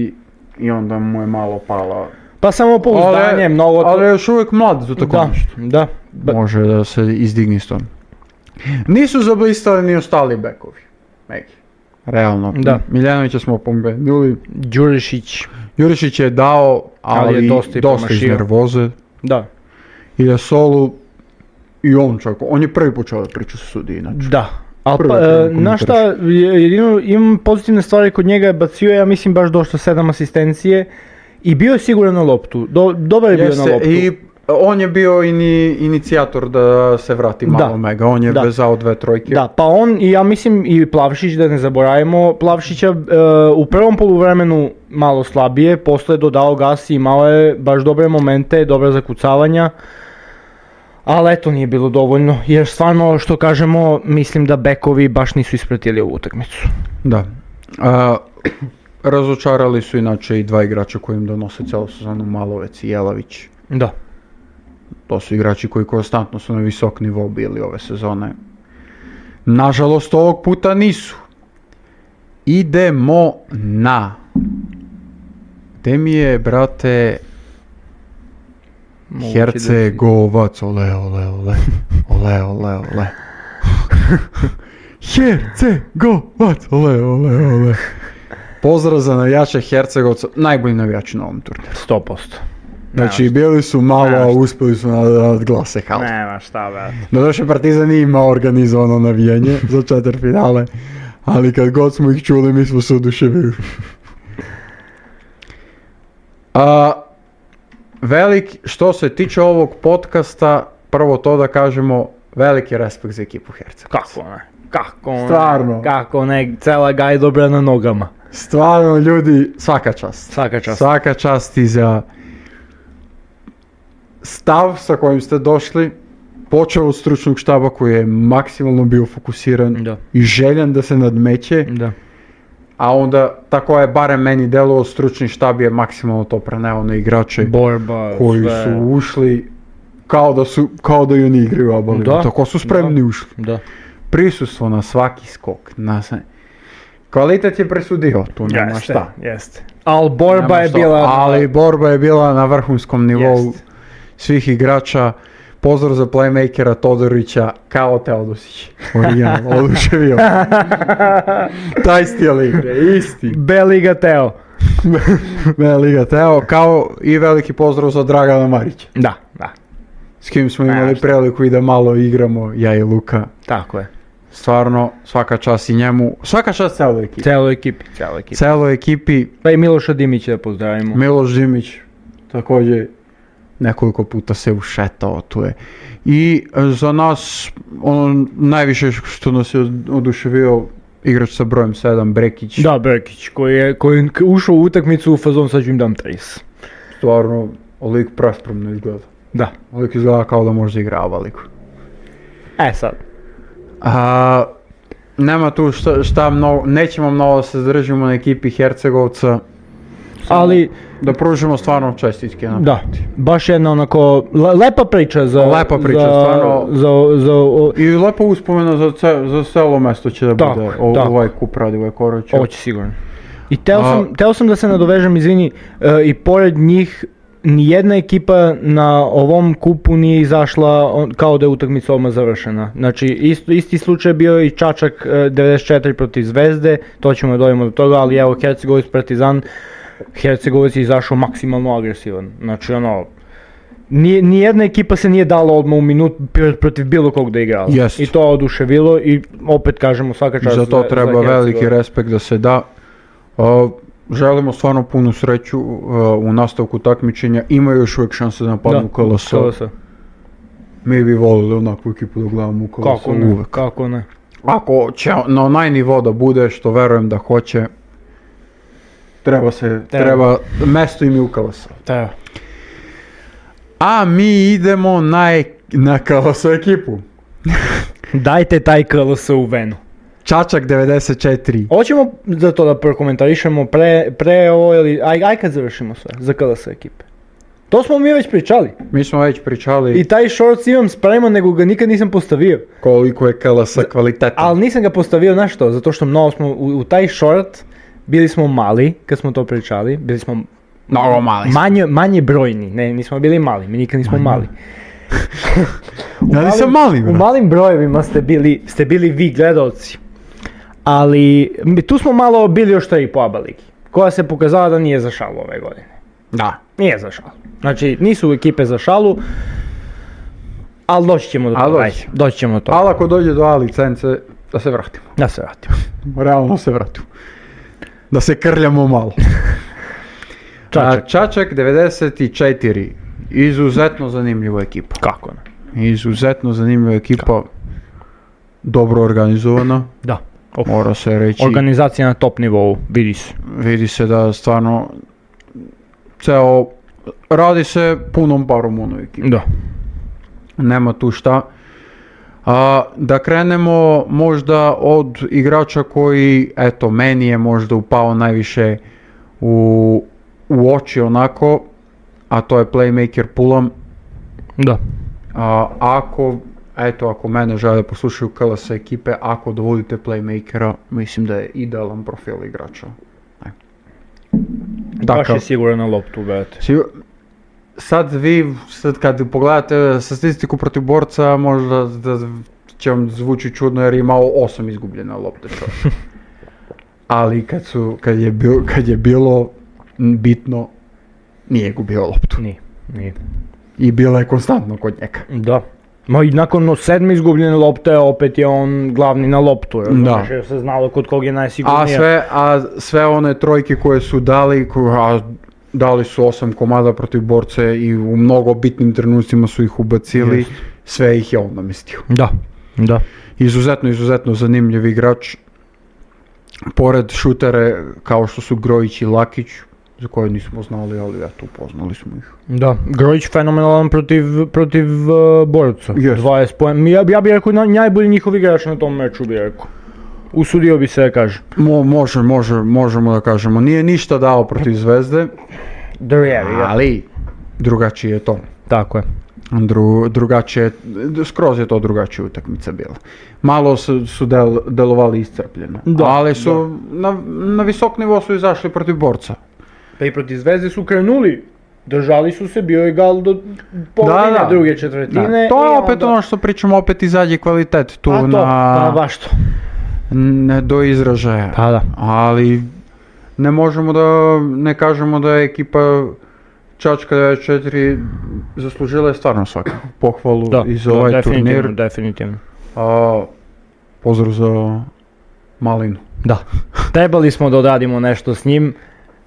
Speaker 2: i onda mu je malo pala.
Speaker 3: Pa samo pouzdanje,
Speaker 2: Ali-
Speaker 3: mnogo... to-
Speaker 2: Ali je još uvijek mlad za tako
Speaker 3: da,
Speaker 2: nešto.
Speaker 3: da. Ba-
Speaker 2: Može da se izdigni s tom. Nisu zablistali ni ostali bekovi. Neki. Realno.
Speaker 3: Da.
Speaker 2: Miljanovića smo pomenuli.
Speaker 3: Đurišić,
Speaker 2: Jurišić je dao, ali, je dosta,
Speaker 3: i
Speaker 2: iz
Speaker 3: promašio.
Speaker 2: nervoze.
Speaker 3: da.
Speaker 2: I da solu i on čak, on je prvi počeo da priča sa znači, sudi inače.
Speaker 3: Da. Ali
Speaker 2: Prvo
Speaker 3: pa,
Speaker 2: je
Speaker 3: e,
Speaker 2: krenuo
Speaker 3: znaš šta, je- jedino imam pozitivne stvari kod njega je bacio, ja mislim baš došlo sedam asistencije i bio je siguran na loptu, Do, dobar je bio na
Speaker 2: Jeste,
Speaker 3: loptu.
Speaker 2: i on je bio ini, inicijator da se vrati malo
Speaker 3: Da.
Speaker 2: mega, on je
Speaker 3: Da.
Speaker 2: vezao dve trojke.
Speaker 3: Da, pa on i ja mislim i Plavšić, da ne zaboravimo, Plavšića e, u prvom poluvremenu malo slabije, posle je dodao gas i imao je baš dobre momente, dobra zakucavanja. Ali eto nije bilo dovoljno, jer stvarno što kažemo, mislim da bekovi baš nisu ispratili ovu utakmicu.
Speaker 2: Da. A, razočarali su inače i dva igrača koji im donose celu sezonu, Malovec i Jelavić.
Speaker 3: Da.
Speaker 2: To su igrači koji konstantno su na visok nivou bili ove sezone. Nažalost, ovog puta nisu. Idemo na... Gde mi je, brate,
Speaker 3: Moguće da-
Speaker 2: Hercegovac? Ole, ole, ole. Ole, ole,
Speaker 3: *laughs*
Speaker 2: ole. Hercegovac! Ole, ole, ole. Pozdrav za navijače Hercegovca, najbolji navijači na ovom turniru.
Speaker 3: 100%.
Speaker 2: Znači, bili su malo,
Speaker 3: Nema
Speaker 2: a
Speaker 3: šta.
Speaker 2: uspeli su na, na glase halu.
Speaker 3: Nema šta, brate.
Speaker 2: Doduše Partizan nije imao organizovano navijanje za četiri finale, ali kad god smo ih čuli mi smo se oduševili. A, velik, što se tiče ovog podcasta, prvo to da kažemo, veliki respekt za ekipu Hercegovca.
Speaker 3: Kako ne? Kako ne?
Speaker 2: Stvarno.
Speaker 3: Kako ne? Cela ga je dobra na nogama.
Speaker 2: Stvarno ljudi, svaka čast.
Speaker 3: Svaka čast.
Speaker 2: Svaka čast i za stav sa kojim ste došli, počeo od stručnog štaba koji je maksimalno bio fokusiran
Speaker 3: Da.
Speaker 2: i željan da se nadmeće,
Speaker 3: Da.
Speaker 2: a onda tako je barem meni delovao stručni štab je maksimalno to preneo na igrače
Speaker 3: Borba,
Speaker 2: koji
Speaker 3: sve.
Speaker 2: su ušli kao da su kao da i oni igraju abalinu,
Speaker 3: Da,
Speaker 2: tako su spremni ušli.
Speaker 3: Da.
Speaker 2: Prisustvo na svaki skok, na sve. Kvalitet je presudio, tu nema šta.
Speaker 3: Jeste. Al borba
Speaker 2: Nema
Speaker 3: je
Speaker 2: šta,
Speaker 3: bila...
Speaker 2: Ali borba je bila na vrhunskom nivou
Speaker 3: Jeste.
Speaker 2: svih igrača. Pozdrav za playmakera Todorića kao Teodosić.
Speaker 3: *laughs*
Speaker 2: Original, oduševio. Taj stil igre, isti.
Speaker 3: Beliga Teo.
Speaker 2: Vela Liga Teo, kao i veliki pozdrav za Dragana Marića.
Speaker 3: Da, da.
Speaker 2: S kim smo
Speaker 3: Nema
Speaker 2: imali
Speaker 3: šta.
Speaker 2: priliku i da malo igramo, ja i Luka.
Speaker 3: Tako je.
Speaker 2: Stvarno, svaka čast i njemu, svaka čast celoj ekipi.
Speaker 3: Celo ekipi, celo ekipi.
Speaker 2: Celoj ekipi,
Speaker 3: Pa i Miloša Dimića da pozdravimo.
Speaker 2: Miloš Dimić također nekoliko puta se ušetao tu je. I e, za nas ono najviše što nas je oduševio igrač sa brojem 7 Brekić.
Speaker 3: Da, Brkić, koji je koji je ušao u utakmicu u fazon sad ću im dam 30.
Speaker 2: Stvarno lik praspromno izgleda.
Speaker 3: Da.
Speaker 2: Lik izgleda kao da može da igra avaliku.
Speaker 3: E sad.
Speaker 2: A, nema tu šta, šta mnogo, nećemo mnogo da se zadržimo na ekipi Hercegovca,
Speaker 3: Ali,
Speaker 2: da pružimo stvarno čestitke. na-
Speaker 3: da, baš jedna onako, le- lepa priča za...
Speaker 2: Lepa priča,
Speaker 3: za-
Speaker 2: stvarno.
Speaker 3: Za, za, o-
Speaker 2: I lepo uspomena za, ce, za celo mesto će da
Speaker 3: Tako,
Speaker 2: bude o-
Speaker 3: tako.
Speaker 2: ovaj kup radi ovaj korać.
Speaker 3: Ovo će sigurno. I teo sam,
Speaker 2: A-
Speaker 3: teo sam da se nadovežem, izvini, e, i pored njih nijedna ekipa na ovom kupu nije izašla on- kao da je utakmica odmah završena. Znači, isto, isti slučaj bio je i Čačak e, 94 protiv Zvezde, to ćemo da dojemo do toga, ali evo Hercegovic Partizan, Hercegovic je izašao maksimalno agresivan. Znači, ono, nije, nijedna ekipa se nije dala odmah u minut pr- protiv bilo kog da je igrala.
Speaker 2: Jest.
Speaker 3: I to je oduševilo i opet kažemo svaka čast
Speaker 2: Za to treba veliki
Speaker 3: Hercegovac.
Speaker 2: respekt da se da. A, želimo stvarno punu sreću a, u nastavku takmičenja. Ima još uvijek šanse da napadnu KLS.
Speaker 3: KLS.
Speaker 2: Mi bi volili onakvu ekipu da gledamo u KLS.
Speaker 3: Kako ne,
Speaker 2: uvek.
Speaker 3: kako ne.
Speaker 2: Ako će na onaj nivo da bude, što verujem da hoće, treba se, treba,
Speaker 3: Treba.
Speaker 2: mesto im je u KLS.
Speaker 3: Da.
Speaker 2: A mi idemo na, ek- na KLS ekipu.
Speaker 3: Dajte taj KLS u venu.
Speaker 2: Čačak 94.
Speaker 3: Hoćemo za to da prokomentarišemo pre, pre ovo ili aj, aj kad završimo sve za KLS ekipe. To smo mi već pričali.
Speaker 2: Mi smo već pričali
Speaker 3: I taj shorts imam spreman, nego ga nikad nisam postavio.
Speaker 2: koliko je KLS kvalitetan.
Speaker 3: Ali nisam ga postavio, znaš što, zato što mnogo smo u, u taj short, bili smo mali kad smo to pričali, bili smo
Speaker 2: Mnogo mali.
Speaker 3: manje, manje brojni, ne, nismo bili mali, mi nikad nismo mali.
Speaker 2: Da li sam mali,
Speaker 3: U
Speaker 2: bro?
Speaker 3: malim brojevima ste bili, ste bili vi gledalci. Ali mi- tu smo malo bili još taj po ABA ligi, koja se pokazala da nije za šalu ove godine.
Speaker 2: Da.
Speaker 3: Nije za šalu. Znači, nisu ekipe za šalu, ali doći ćemo do
Speaker 2: Ali
Speaker 3: toga.
Speaker 2: doći.
Speaker 3: ajde, Doći ćemo do toga.
Speaker 2: Ali ako dođe do A licence, da se vratimo.
Speaker 3: Da se vratimo.
Speaker 2: Realno se vratimo. Da se krljamo malo.
Speaker 3: Čačak.
Speaker 2: A, Čačak 94. Izuzetno zanimljiva ekipa.
Speaker 3: Kako ne?
Speaker 2: Izuzetno zanimljiva ekipa. Dobro organizovana,
Speaker 3: Da. Of.
Speaker 2: mora se reći.
Speaker 3: Organizacija na top nivou, vidi se.
Speaker 2: Vidi se da stvarno ceo radi se punom parom u onoj ekipi.
Speaker 3: Da.
Speaker 2: Nema tu šta. A, da krenemo možda od igrača koji, eto, meni je možda upao najviše u, u oči onako, a to je playmaker Pulam.
Speaker 3: Da.
Speaker 2: A, ako, eto, ako mene žele poslušaju KLS ekipe, ako dovodite playmakera, mislim da je idealan profil igrača. E.
Speaker 3: Baš
Speaker 2: Takav.
Speaker 3: je siguran na loptu, brate.
Speaker 2: Sigur- Znači, Sad vi, sad kad pogledate statistiku protiv borca, možda da će vam zvuči čudno jer je imao osam izgubljena lopte čovjek. Ali kad, su, kad, je bil- kad je bilo bitno, nije gubio loptu.
Speaker 3: Nije, nije.
Speaker 2: I bila je konstantno kod njega.
Speaker 3: Da. Ma i nakon ono sedme izgubljene lopte, opet je on glavni na loptu. Jer,
Speaker 2: Da.
Speaker 3: znaš, jer se znalo kod kog je najsigurnije.
Speaker 2: A sve, a sve one trojke koje su dali, ko- a dali su osam komada protiv borce i u mnogo bitnim trenucima su ih ubacili,
Speaker 3: Jest.
Speaker 2: sve ih je on namestio.
Speaker 3: Da. Da.
Speaker 2: Izuzetno, izuzetno zanimljiv igrač. Pored šutere kao što su Grojić i Lakić, za koje nismo znali, ali eto, upoznali smo ih.
Speaker 3: Da, Grojić fenomenalan protiv, protiv uh, borca.
Speaker 2: Jest.
Speaker 3: 20 poena. Ja, bi- ja bih rekao na- najbolji njihov igrač na tom meču bih rekao. Usudio bi se da kažem.
Speaker 2: Mo, može, može, možemo da kažemo. Nije ništa dao protiv Zvezde,
Speaker 3: Drjevi,
Speaker 2: ali drugačije je to.
Speaker 3: Tako je.
Speaker 2: Dru, drugačije, skroz je to drugačija utakmica bila. Malo su, su del, delovali iscrpljeno,
Speaker 3: Da,
Speaker 2: ali su na, na visok nivo su izašli protiv borca.
Speaker 3: Pa i protiv Zvezde su krenuli. Držali su se, bio je gal do polovine
Speaker 2: Da, da.
Speaker 3: druge četvrtine.
Speaker 2: Da, to
Speaker 3: i
Speaker 2: je opet
Speaker 3: onda-
Speaker 2: ono što pričamo, opet izađe kvalitet tu
Speaker 3: A to,
Speaker 2: na...
Speaker 3: pa baš to.
Speaker 2: ne do izražaja.
Speaker 3: Pa da.
Speaker 2: Ali ne možemo da ne kažemo da je ekipa Čačka 94 zaslužila je stvarno svaku pohvalu
Speaker 3: Da,
Speaker 2: i za
Speaker 3: da,
Speaker 2: ovaj
Speaker 3: definitivno,
Speaker 2: turnir.
Speaker 3: definitivno.
Speaker 2: A, pozdrav za Malinu.
Speaker 3: Da. Trebali smo da odradimo nešto s njim.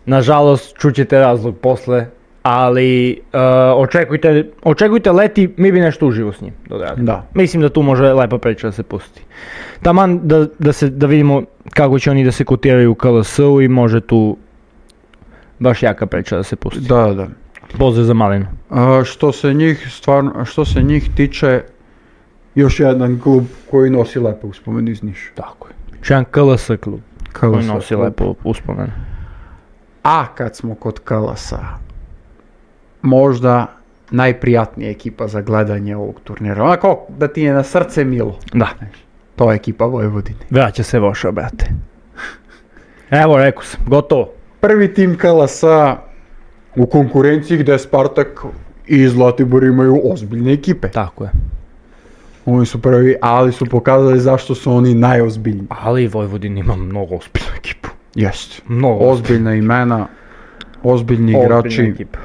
Speaker 3: Nažalost, čućete razlog posle, ali e, očekujte, očekujte leti, mi bi nešto uživo s njim da odradimo.
Speaker 2: Da.
Speaker 3: Mislim da tu može lepa priča da se pusti. Taman da, da, se, da vidimo kako će oni da se kotiraju u KLS-u i može tu baš jaka priča da se pusti.
Speaker 2: Da, da.
Speaker 3: Pozdrav za Malinu.
Speaker 2: A, što se njih stvarno, što se njih tiče, još jedan klub koji nosi lepe uspomene iz Niša.
Speaker 3: Tako je. Još jedan KLS klub koji
Speaker 2: KLS.
Speaker 3: nosi lepo uspomenu.
Speaker 2: A kad smo kod Kalasa, možda najprijatnija ekipa za gledanje ovog turnira. Onako da ti je na srce milo.
Speaker 3: Da.
Speaker 2: To je ekipa Vojvodine.
Speaker 3: Vraća se Voša, brate. Evo, rekao sam, gotovo.
Speaker 2: Prvi tim Kalasa u konkurenciji gde Spartak i Zlatibor imaju ozbiljne ekipe.
Speaker 3: Tako je.
Speaker 2: Oni su prvi, ali su pokazali zašto su oni najozbiljniji.
Speaker 3: Ali Vojvodin ima mnogo ozbiljnu ekipu.
Speaker 2: Jeste.
Speaker 3: Mnogo
Speaker 2: Ozbiljna imena, ozbiljni igrači.
Speaker 3: ekipa.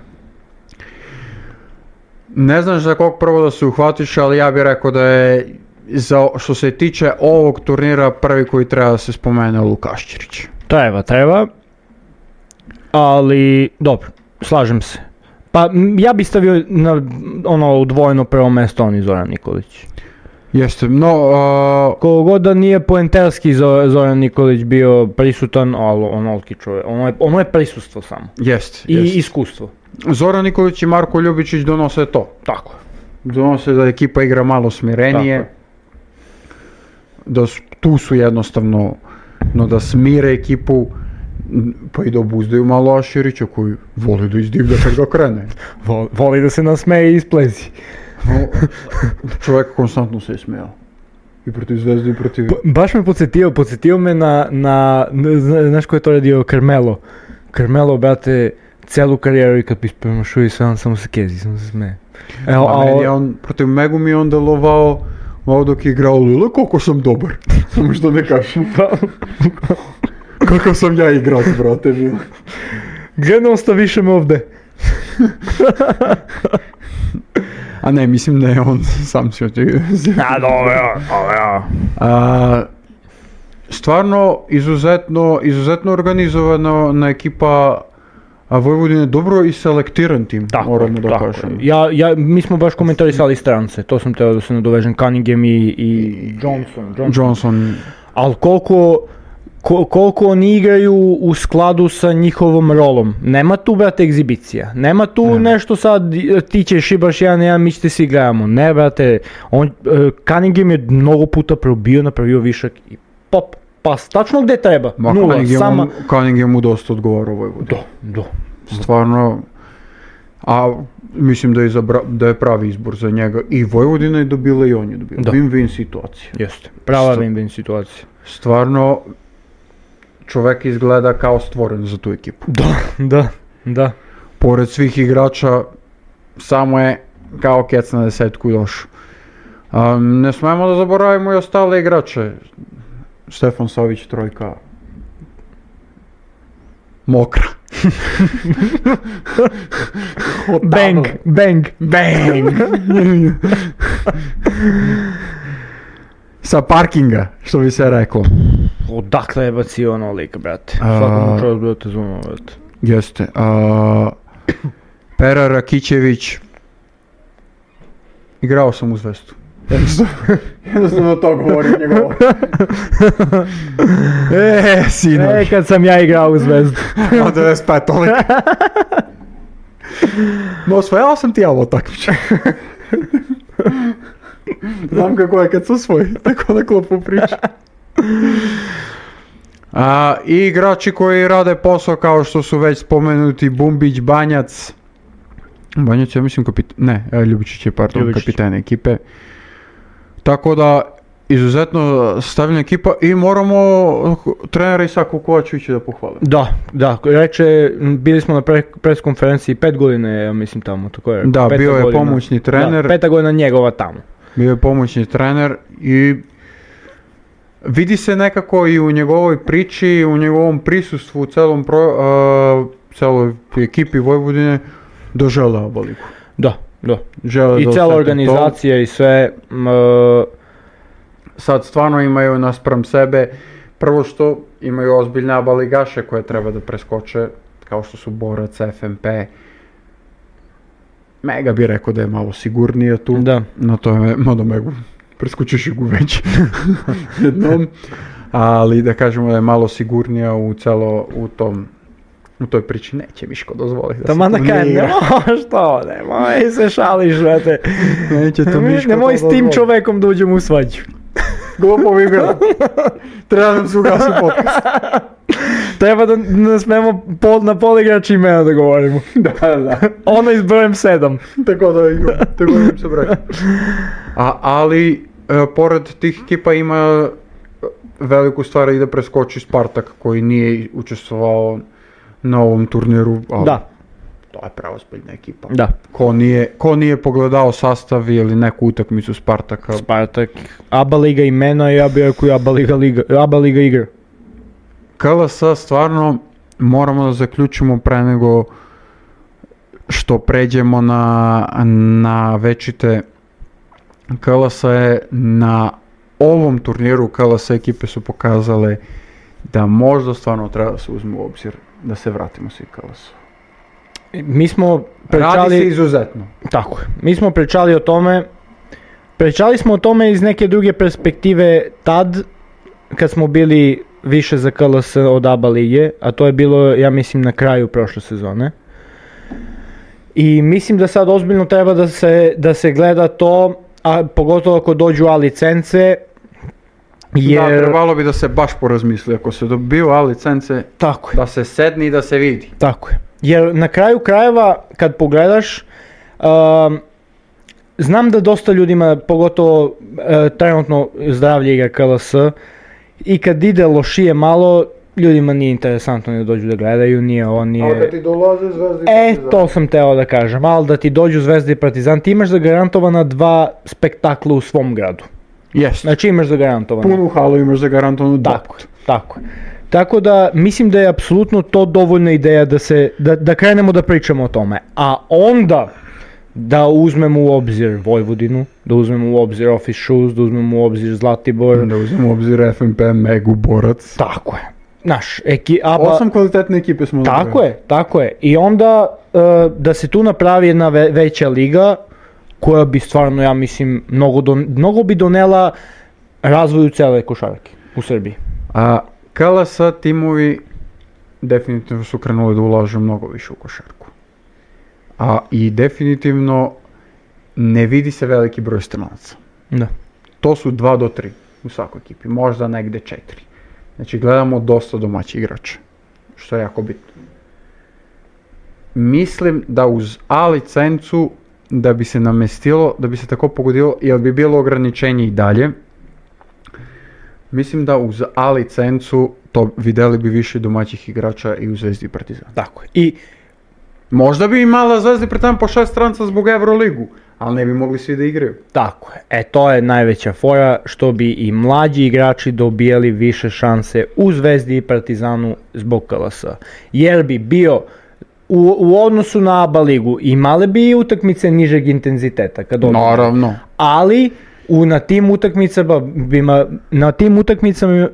Speaker 2: Ne znaš za kog prvo da se uhvatiš, ali ja bih rekao da je za, što se tiče ovog turnira prvi koji treba da se spomene Lukašćirić.
Speaker 3: Treba, treba. Ali, dobro, slažem se. Pa m, ja bi stavio na ono udvojeno prvo mesto on i Zoran Nikolić.
Speaker 2: Jeste, no, a,
Speaker 3: Koliko god da nije poenterski Zo- Zoran Nikolić bio prisutan, ali onoliki čovjek, ono je, ono je prisustvo samo.
Speaker 2: jeste,
Speaker 3: I
Speaker 2: jeste.
Speaker 3: iskustvo.
Speaker 2: Zoran Nikolić i Marko Ljubičić donose to.
Speaker 3: Tako je.
Speaker 2: Donose da ekipa igra malo smirenije.
Speaker 3: Tako
Speaker 2: Da su tu su jednostavno no da smire ekipu pa i da obuzdaju malo Aširića koji voli da izdivlja kad ga krene.
Speaker 3: Voli, voli da se nasmeje i isplezi.
Speaker 2: No, *laughs* čovjek konstantno se ismejao. I protiv Zvezde i protiv...
Speaker 3: Ba- baš me podsjetio, podsjetio me na, na, na, znaš ko je to radio, Carmelo. Carmelo, brate, celu karijeru i kad bi spremašio i sve, on samo se kezi, samo se smeje. Evo,
Speaker 2: Ma, meni je on protiv Megumi onda lovao malo dok je igrao Lula, koliko sam dobar. Samo što ne kažem.
Speaker 3: pa,
Speaker 2: Kako sam ja igrač, brate, bio.
Speaker 3: Gledno sta više me ovde.
Speaker 2: A ne, mislim da je on sam si otišao.
Speaker 3: A dobro, dobro.
Speaker 2: A, stvarno izuzetno, izuzetno organizovana na ekipa a Vojvodina je dobro i selektiran tim,
Speaker 3: Tako,
Speaker 2: moramo da
Speaker 3: tako.
Speaker 2: kažem.
Speaker 3: Ja, ja, mi smo baš komentarisali strance, to sam teo da se nadovežem, Cunningham i, i Johnson. Johnson.
Speaker 2: Johnson,
Speaker 3: Ali koliko, ko- koliko oni igraju u skladu sa njihovom rolom. Nema tu, brate, egzibicija. Nema tu nešto sad, e, ti ćeš i baš jedan, jedan, mi ćete svi igramo. Ne, brate, on, e, Cunningham je mnogo puta probio, napravio višak i pop, pas, tačno gde treba.
Speaker 2: ma
Speaker 3: Nula,
Speaker 2: Cunningham,
Speaker 3: sama.
Speaker 2: Cunningham mu dosta odgovara u Vojvodini.
Speaker 3: Do, do.
Speaker 2: Stvarno, a mislim da je, zabra, da je pravi izbor za njega. I Vojvodina je dobila i on je dobio.
Speaker 3: Da.
Speaker 2: Win-win situacija.
Speaker 3: Jeste, prava
Speaker 2: Što-
Speaker 3: win-win situacija.
Speaker 2: Stvarno, čovek izgleda kao stvoren za tu ekipu.
Speaker 3: Da, da, da.
Speaker 2: pored svih igrača samo je kao kec na desetku došao. Um, ne smemo da zaboravimo i ostale igrače. Stefan Savić trojka. Mokra.
Speaker 3: Bang, bang, bang. *laughs*
Speaker 2: Sa parkinga, što bi se reklo.
Speaker 3: Odakle je bacio ono lik, brate?
Speaker 2: A-
Speaker 3: Svakom čovjek brate zumo, brate.
Speaker 2: Jeste. A, Pera Rakićević. Igrao sam u zvestu. Jednostavno, jednostavno to govori njegovo. e,
Speaker 3: E,
Speaker 2: sinoć.
Speaker 3: kad sam ja igrao u Zvezdu.
Speaker 2: Od 95 tolik. *laughs* No, osvajao sam ti ja ovo takmičenje. Znam kako je kad se osvoji, tako da klopu priča. *laughs* A, I igrači koji rade posao kao što su već spomenuti Bumbić, Banjac. Banjac ja mislim kapitan, ne, e, Ljubičić je pardon,
Speaker 3: Ljubičić.
Speaker 2: kapitan ekipe. Tako da izuzetno stavljena ekipa i moramo eh, trenera Isaku Kovačevića da pohvalimo.
Speaker 3: *laughs* Da, da, reče, m, bili smo na pre, pres konferenciji pet godina, je, ja mislim tamo, tako je. rekao,
Speaker 2: Da,
Speaker 3: peta
Speaker 2: bio je
Speaker 3: godina.
Speaker 2: pomoćni trener.
Speaker 3: Da, peta godina njegova tamo.
Speaker 2: Bio je pomoćni trener i vidi se nekako i u njegovoj priči, i u njegovom prisustvu u celom pro, a, celoj ekipi Vojvodine da žele obaliku.
Speaker 3: Da, da.
Speaker 2: Žele da
Speaker 3: I cijela
Speaker 2: osete
Speaker 3: organizacija i sve, m, e,
Speaker 2: to. Sad stvarno imaju naspram sebe, prvo što imaju ozbiljne abaligaše koje treba da preskoče, kao što su Borac, FMP. Mega bi rekao da je malo sigurnije tu.
Speaker 3: da.
Speaker 2: Na to je, *laughs* ono, mada megu, preskučiš gu
Speaker 3: *laughs*
Speaker 2: već jednom, ali da kažemo da je malo sigurnija u celo, u tom, u toj priči neće Miško dozvoliti da
Speaker 3: Taman
Speaker 2: se
Speaker 3: da
Speaker 2: tu
Speaker 3: kaj, *laughs*
Speaker 2: ne igra.
Speaker 3: nemoj što, nemoj se šališ, brate.
Speaker 2: Neće
Speaker 3: *laughs*
Speaker 2: to
Speaker 3: Nemoj-
Speaker 2: Miško
Speaker 3: Nemoj
Speaker 2: to
Speaker 3: s tim
Speaker 2: dozvoliti.
Speaker 3: čovekom da uđemo u svađu.
Speaker 2: Glupo bi
Speaker 3: *laughs*
Speaker 2: bilo. Treba nam se ugasi podcast.
Speaker 3: Treba da ne smemo pol, na pol igrači imena da govorimo.
Speaker 2: da, da.
Speaker 3: Ono iz brojem 7.
Speaker 2: Tako da, igram, tako da im se vraća. A, ali, e, pored tih ekipa ima e, veliku stvar i da preskoči Spartak koji nije učestvovao na ovom turniru. ali
Speaker 3: Da,
Speaker 2: To je pravozbiljna ekipa.
Speaker 3: da.
Speaker 2: Ko nije, ko nije pogledao sastav ili neku utakmicu Spartaka,
Speaker 3: Spartak, Pa, Aba Liga imena i ja bih rekao i Aba Liga, Liga, Aba Liga igra.
Speaker 2: KLS stvarno moramo da zaključimo pre nego što pređemo na, na večite KLS je na ovom turniru KLS ekipe su pokazale da možda stvarno treba da se uzme u obzir da se vratimo svi KLS.
Speaker 3: Mi smo
Speaker 2: Radi se
Speaker 3: pričali,
Speaker 2: izuzetno.
Speaker 3: tako je, mi smo pričali o tome, pričali smo o tome iz neke druge perspektive tad, kad smo bili više za KLS od Aba Lige, a to je bilo, ja mislim, na kraju prošle sezone. I mislim da sad ozbiljno treba da se, da se gleda to, a pogotovo ako dođu A licence, Jer...
Speaker 2: Da, trebalo bi da se baš porazmisli ako se dobio A licence,
Speaker 3: Tako je.
Speaker 2: da se sedni i da se vidi.
Speaker 3: Tako je. Jer na kraju krajeva kad pogledaš, um, znam da dosta ljudima, pogotovo e, trenutno zdravlje igra KLS, i kad ide lošije malo, ljudima nije interesantno ne dođu da gledaju, nije ovo, nije...
Speaker 4: Ali kad ti dolaze zvezdi...
Speaker 3: E,
Speaker 4: Partizan.
Speaker 3: to sam teo da kažem, ali da ti dođu Zvezda i Partizan, ti imaš zagarantovana dva spektakla u svom gradu.
Speaker 2: Jeste.
Speaker 3: Znači imaš zagarantovana.
Speaker 2: Punu halu imaš za garantovanu
Speaker 3: Tako, je, tako. je. Tako da mislim da je apsolutno to dovoljna ideja da se, da, da krenemo da pričamo o tome. A onda da uzmemo u obzir Vojvodinu, da uzmemo u obzir Office Shoes, da uzmemo u obzir Zlatibor.
Speaker 2: Da uzmemo u obzir FNP, Megu, Borac.
Speaker 3: Mm, Tako je. Naš, eki, aba,
Speaker 2: Osam kvalitetne ekipe smo
Speaker 3: tako je, tako je. I onda e, da se tu napravi jedna ve- veća liga koja bi stvarno, ja mislim, mnogo, don, mnogo bi donela razvoju cele košarke u Srbiji.
Speaker 2: A Kala sa timovi definitivno su krenuli da ulažu mnogo više u košarku. A i definitivno ne vidi se veliki broj stranaca.
Speaker 3: Da.
Speaker 2: To su 2 do 3 u svakoj ekipi, možda negde 4. Znači gledamo dosta domaćih igrača, što je jako bitno. Mislim da uz A licencu da bi se namestilo, da bi se tako pogodilo, jer bi bilo ograničenje i dalje, Mislim da uz A licencu to videli bi više domaćih igrača i u Zvezdi i Partizan.
Speaker 3: Tako je. I
Speaker 2: Možda bi imala Zvezdi i Partizan po šest stranca zbog Euroligu, ali ne bi mogli svi da igraju.
Speaker 3: Tako je. E to je najveća fora što bi i mlađi igrači dobijali više šanse u Zvezdi i Partizanu zbog KLS. Jer bi bio u, u odnosu na ABA ligu imale bi i utakmice nižeg intenziteta kad dođe.
Speaker 2: Naravno.
Speaker 3: Ali u, na tim utakmicama bi, ma- na tim utakmicama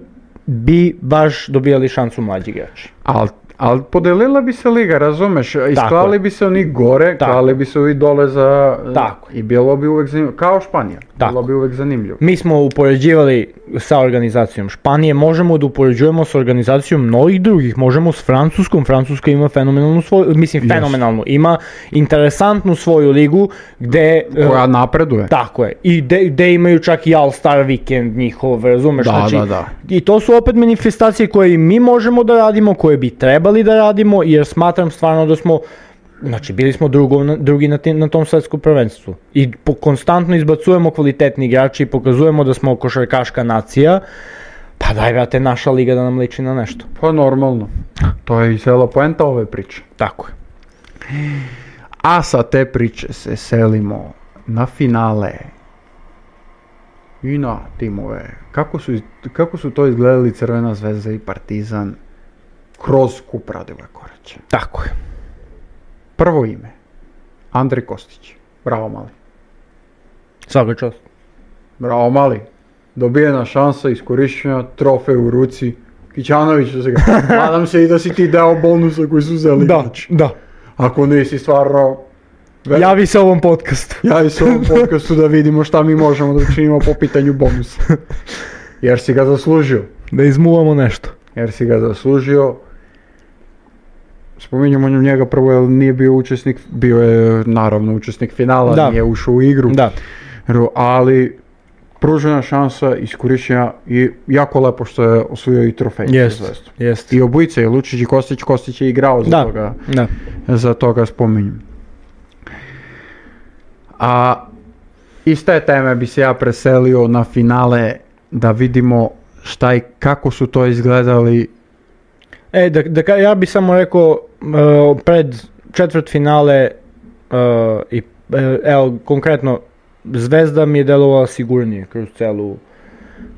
Speaker 3: bi baš dobijali šansu mlađi igrači.
Speaker 2: Ali al podelila bi se liga, razumeš? Isklali
Speaker 3: je.
Speaker 2: bi se oni gore,
Speaker 3: Tako.
Speaker 2: klali bi se ovi dole za...
Speaker 3: Tako.
Speaker 2: I bilo bi uvek zanimljivo. Kao Španija.
Speaker 3: Tako.
Speaker 2: Bilo bi uvek zanimljivo.
Speaker 3: Mi smo upoređivali sa organizacijom Španije, možemo da upoređujemo sa organizacijom mnogih drugih, možemo s Francuskom, Francuska ima fenomenalnu svoju, mislim fenomenalnu, ima interesantnu svoju ligu gde... e,
Speaker 2: Koja napreduje.
Speaker 3: Tako je, i de, de imaju čak i All Star Weekend njihov, razumeš?
Speaker 2: Da,
Speaker 3: znači,
Speaker 2: da, da.
Speaker 3: I to su opet manifestacije koje i mi možemo da radimo, koje bi trebali da radimo, jer smatram stvarno da smo Znači, bili smo drugo, na- drugi na, tim- na tom svetskom prvenstvu. I po, konstantno izbacujemo kvalitetni igrači i pokazujemo da smo košarkaška nacija. Pa daj, brate, naša liga da nam liči na nešto.
Speaker 2: Pa normalno. To je i cela poenta ove priče.
Speaker 3: Tako je.
Speaker 2: A sa te priče se selimo na finale i na timove. Kako su, kako su to izgledali Crvena zvezda i Partizan kroz kup Radivoj Koraća?
Speaker 3: Tako je.
Speaker 2: Prvo ime, Andrej Kostić. Bravo mali.
Speaker 3: Svaka čast.
Speaker 2: Bravo mali. Dobijena šansa, iskorišćena, trofej u ruci. Kićanović se ga.
Speaker 3: *laughs*
Speaker 2: Nadam se i da si ti dao bonusa koji su uzeli. igrači.
Speaker 3: da.
Speaker 2: Ako nisi stvarno... veliki
Speaker 3: Javi se ovom podcastu.
Speaker 2: Ja i s
Speaker 3: *laughs*
Speaker 2: ovom podcastu da vidimo šta mi možemo da učinimo po pitanju
Speaker 3: *laughs*
Speaker 2: bonusa. Jer si ga zaslužio.
Speaker 3: Da izmuvamo nešto.
Speaker 2: Jer si ga zaslužio. Spominjamo njega prvo jer nije bio učesnik, bio je naravno učesnik finala,
Speaker 3: Da.
Speaker 2: nije ušao u igru.
Speaker 3: Da.
Speaker 2: Ro- Ali pružena šansa, iskorišćena i jako lepo što je osvojio i trofej. za
Speaker 3: Jest.
Speaker 2: Zvezdu.
Speaker 3: Jest.
Speaker 2: I obojica i Lučić i Kostić, Kostić je igrao za
Speaker 3: Da.
Speaker 2: toga
Speaker 3: Da.
Speaker 2: za to ga spominjem. A iz te teme bi se ja preselio na finale da vidimo šta i kako su to izgledali.
Speaker 3: E, da, da, ka- ja bi samo rekao e, pred četvrt finale e, i e, evo konkretno Zvezda mi je delovala sigurnije kroz celu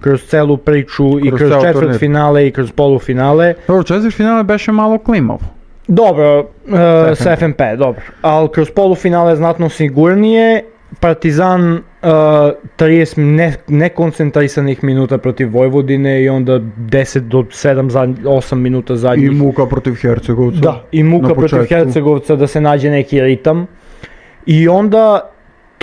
Speaker 3: kroz celu priču i
Speaker 2: Kroz
Speaker 3: kroz
Speaker 2: ceo
Speaker 3: četvrt
Speaker 2: turnir.
Speaker 3: finale i kroz polufinale.
Speaker 2: Dobro, četvrt finale beše malo klimavo.
Speaker 3: Dobro,
Speaker 2: Sa
Speaker 3: e, sa FNP, dobro. Ali kroz polufinale znatno sigurnije. Partizan e, 30 ne, nekoncentrisanih minuta protiv Vojvodine i onda 10 do 7 za 8 minuta
Speaker 2: I
Speaker 3: zadnjih.
Speaker 2: muka protiv Hercegovca.
Speaker 3: Da, i muka
Speaker 2: na
Speaker 3: protiv
Speaker 2: početku.
Speaker 3: Hercegovca da se nađe neki ritam. I onda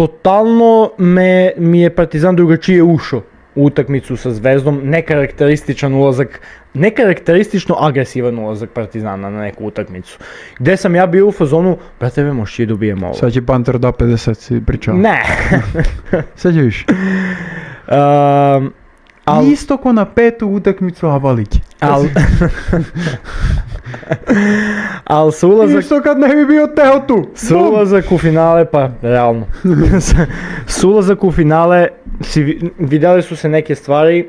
Speaker 3: totalno me, mi je Partizan drugačije ušao u utakmicu sa Zvezdom, nekarakterističan ulazak, nekarakteristično agresivan ulazak Partizana na neku utakmicu. Gde sam ja bio u fazonu, brate, ve moš i dobijemo ovo.
Speaker 2: Sad će Panter da *laughs* 50 si pričao.
Speaker 3: Ne.
Speaker 2: Sad je više.
Speaker 3: Um, Al-
Speaker 2: Isto ko na petu utakmicu Abalić. *laughs*
Speaker 3: Al... *laughs* Al sa ulazak...
Speaker 2: Isto kad ne bi bio teo tu.
Speaker 3: Sa ulazak u finale, pa realno. Sa- sa ulazak u finale, si, vi- vidjeli su se neke stvari,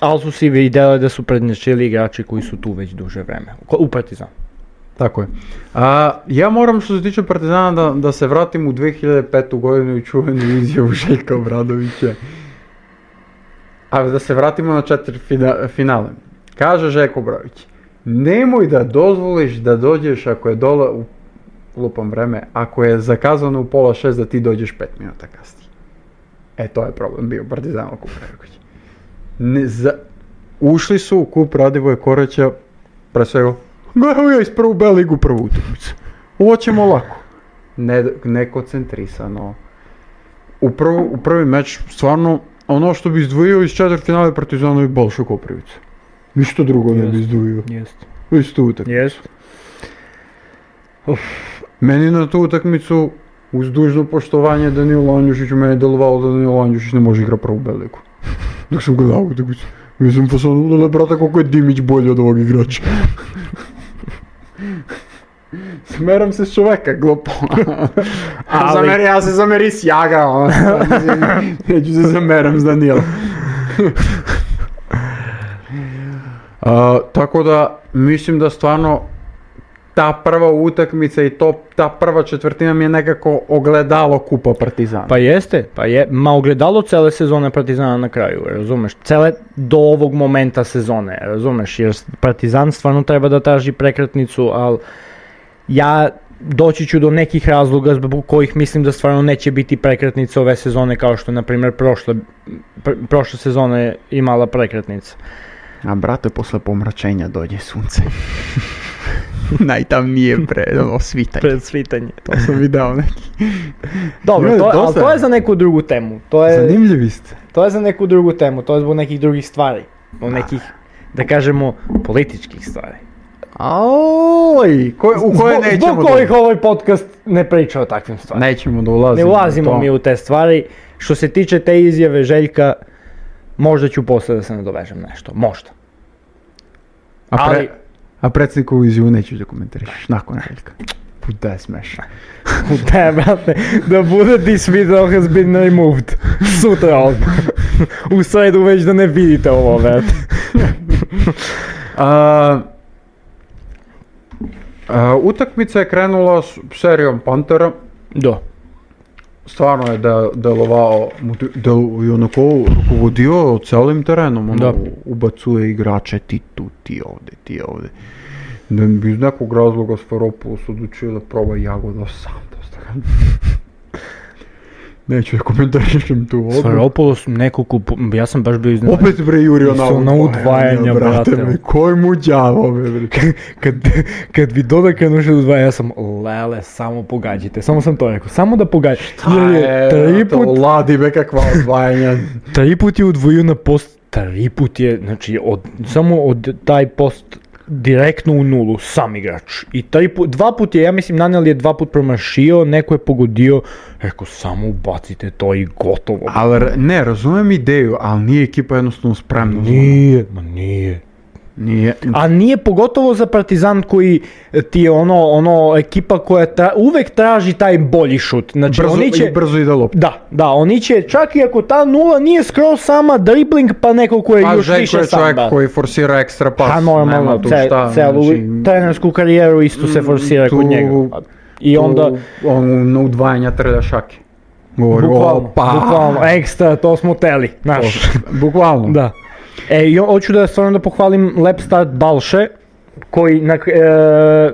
Speaker 3: ali su si vidjeli da su prednjačili igrači koji su tu već duže vreme. Ko- U Partizan.
Speaker 2: Tako je. A, ja moram što se tiče Partizana da, da se vratim u 2005. godinu i čuvenu izjavu *laughs* Željka Obradovića. A da se vratimo na četiri fina- finale. Kaže Željko Obradović, nemoj da dozvoliš da dođeš ako je dola u lupam vreme, ako je zakazano u pola šest da ti dođeš pet minuta kasnije. E to je problem bio Partizan oko Obradovića. Ne, za... Ušli su u kup Radivoje Koreća, pre svega Gledao ja iz prvu B ligu prvu utakmicu. Ovo ćemo lako. Ne, nekoncentrisano. U, prvu, u prvi meč stvarno ono što bi izdvojio iz četvrt finale Partizana i Bolša Koprivica. Ništa drugo ne bi
Speaker 3: Jasno.
Speaker 2: izdvojio.
Speaker 3: Jest.
Speaker 2: Isto utakmicu.
Speaker 3: Jest.
Speaker 2: Meni na tu utakmicu uz dužno poštovanje Danilo Anjušiću meni je delovalo da Danilo Anjušić ne može igra prvu B ligu. Dok sam gledao utakmicu. Mislim pa sam udala brata koliko je Dimić bolji od ovog igrača. Smeram se s čoveka, glupo.
Speaker 3: Ali-
Speaker 2: Zameri, ja se zameri s jaga. ono. Neću se zameram s Danilo. A, tako da, mislim da stvarno ta prva utakmica i to, ta prva četvrtina mi je nekako ogledalo kupa Partizana.
Speaker 3: Pa jeste, pa je, ma ogledalo cele sezone Partizana na kraju, razumeš? Cele do ovog momenta sezone, razumeš? Jer Partizan stvarno treba da traži prekretnicu, ali ja doći ću do nekih razloga zbog kojih mislim da stvarno neće biti prekretnica ove sezone kao što je, na primjer, prošle, pr- prošle sezone imala prekretnica.
Speaker 2: A brate, posle pomračenja dođe sunce. Najtamnije pre osvitanje.
Speaker 3: Pred svitanje.
Speaker 2: To sam video neki.
Speaker 3: Dobro,
Speaker 2: Ljudi,
Speaker 3: to, ali
Speaker 2: dosta
Speaker 3: to
Speaker 2: je.
Speaker 3: je za neku drugu temu. To je,
Speaker 2: *laughs* Zanimljivi ste.
Speaker 3: To je za neku drugu temu, to je zbog nekih drugih stvari. Zbog nekih, da kažemo, političkih stvari.
Speaker 2: Aoj, koje- u koje
Speaker 3: zbog,
Speaker 2: nećemo
Speaker 3: zbog kojih ovaj podcast ne priča o takvim
Speaker 2: da,
Speaker 3: stvarima.
Speaker 2: nećemo da ulazimo.
Speaker 3: Ne
Speaker 2: u
Speaker 3: ulazimo
Speaker 2: to.
Speaker 3: mi u te stvari. Što se tiče te izjave Željka, možda ću posle da se nadovežem nešto. Možda.
Speaker 2: A, pre,
Speaker 3: ali- *laughs*
Speaker 2: a predsjednikovu izjavu neću da komentariš. Nakon Željka. Puta je smešno.
Speaker 3: Da, brate, da bude this video has been removed. Sutra odmah. U sredu već da ne vidite ovo, brate.
Speaker 2: A, a, utakmica je krenula s serijom Pantera.
Speaker 3: Do.
Speaker 2: Stvarno je de, delovao, moti- del, i onako rukovodio celim terenom. Ono,
Speaker 3: Da.
Speaker 2: Ubacuje igrače ti tu, ti ovde, ti ovde. Ne bi iz nekog razloga Sferopoulos odlučio da proba Jagoda Santos. *laughs* Neću da komentarišem tu odluku.
Speaker 3: Svaropoulos nekoliko, pu- ja sam baš bio iznenađen.
Speaker 2: Opet bre jurio na
Speaker 3: Su na udvajanja, brate.
Speaker 2: bre, Koji mu đavo bre. bre.
Speaker 3: kad, kad vi dodaka nuše do dva, ja sam lele, samo pogađajte, samo sam to rekao, samo da pogađajte. Jer je tri
Speaker 2: to
Speaker 3: put,
Speaker 2: ladi be kakva odvajanja.
Speaker 3: tri put je udvojio na post, tri put je, znači, od, samo od taj post direktno u nulu, sam igrač. I tri put, dva put je, ja mislim, Nanel je dva put promašio, neko je pogodio, rekao, samo ubacite to i gotovo.
Speaker 2: *laughs* ali r- ne, razumem ideju, ali nije ekipa jednostavno spremna. za ono.
Speaker 3: nije, ma nije.
Speaker 2: Nije.
Speaker 3: A nije pogotovo za Partizan koji ti je ono, ono ekipa koja tra, uvek traži taj bolji šut. Znači
Speaker 2: brzo,
Speaker 3: oni će...
Speaker 2: i brzo ide lopta.
Speaker 3: Da, da, oni će čak i ako ta nula nije skroz sama dribling pa neko ko je
Speaker 2: Pa
Speaker 3: još
Speaker 2: Željko
Speaker 3: više
Speaker 2: je
Speaker 3: sam
Speaker 2: čovjek
Speaker 3: da.
Speaker 2: koji forsira ekstra pas.
Speaker 3: Pa
Speaker 2: nema
Speaker 3: normalno,
Speaker 2: tu
Speaker 3: ce-
Speaker 2: šta,
Speaker 3: celu
Speaker 2: znači,
Speaker 3: trenersku karijeru isto se
Speaker 2: Mm,
Speaker 3: forsira
Speaker 2: tu-
Speaker 3: kod njega. I
Speaker 2: tu
Speaker 3: onda,
Speaker 2: On na udvajanja trlja šake. Govori,
Speaker 3: bukvalno,
Speaker 2: opa.
Speaker 3: bukvalno,
Speaker 2: *laughs*
Speaker 3: ekstra, to smo teli, znaš.
Speaker 2: Bukvalno.
Speaker 3: Da. E, i hoću da stvarno da pohvalim lep start Balše, koji, na, k- e,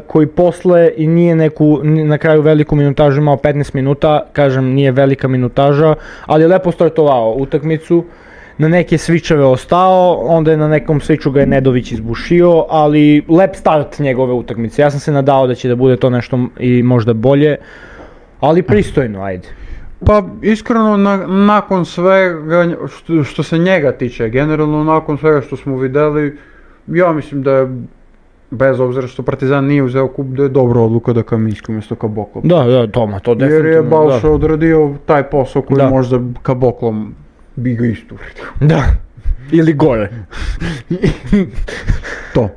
Speaker 3: koji posle i nije neku, ni- na kraju veliku minutažu imao 15 minuta, kažem nije velika minutaža, ali je lepo startovao utakmicu, na neke svičeve ostao, onda je na nekom sviču ga je Nedović izbušio, ali lep start njegove utakmice, ja sam se nadao da će da bude to nešto m- i možda bolje, ali pristojno, ajde.
Speaker 2: Pa iskreno na- nakon svega nj- što, što se njega tiče, generalno nakon svega što smo videli, ja mislim da je bez obzira što Partizan nije uzeo kup, da je dobra odluka da Kaminski umjesto Kaboklo.
Speaker 3: Da, da, Toma, to
Speaker 2: Jer
Speaker 3: definitivno.
Speaker 2: je Balša
Speaker 3: da.
Speaker 2: odradio taj posao koji
Speaker 3: Da.
Speaker 2: možda Kaboklom bi ga isturio.
Speaker 3: Da. Или горе.
Speaker 2: To.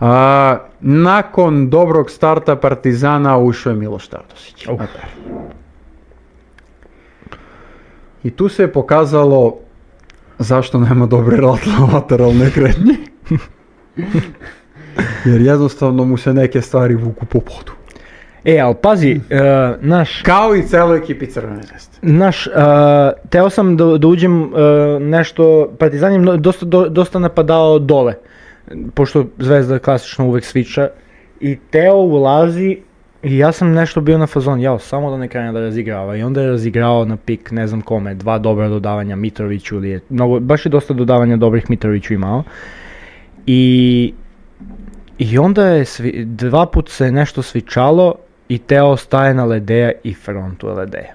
Speaker 2: A, nakon dobrog starta Partizana ušao je Miloš Tardosić.
Speaker 3: Uf.
Speaker 2: I tu se je pokazalo zašto nema dobre lat- lateralne kretnje. Jer jednostavno mu se neke stvari vuku po podu.
Speaker 3: E, ali pazi, e, naš,
Speaker 2: Kao i celoj ekipi Crvene zvezde.
Speaker 3: naš, e, teo sam da, da uđem e, nešto, Partizan je mno- dosta, do- dosta napadao dole, pošto Zvezda klasično uvek sviča, i Teo ulazi i ja sam nešto bio na fazon, jao, samo da ne krene da razigrava, i onda je razigrao na pik, ne znam kome, dva dobra dodavanja Mitroviću, ili je, mnogo, baš je dosta dodavanja dobrih Mitroviću imao, i I onda je svi, dva put se nešto svičalo i Teo staje na ledeja i frontu je ledeja.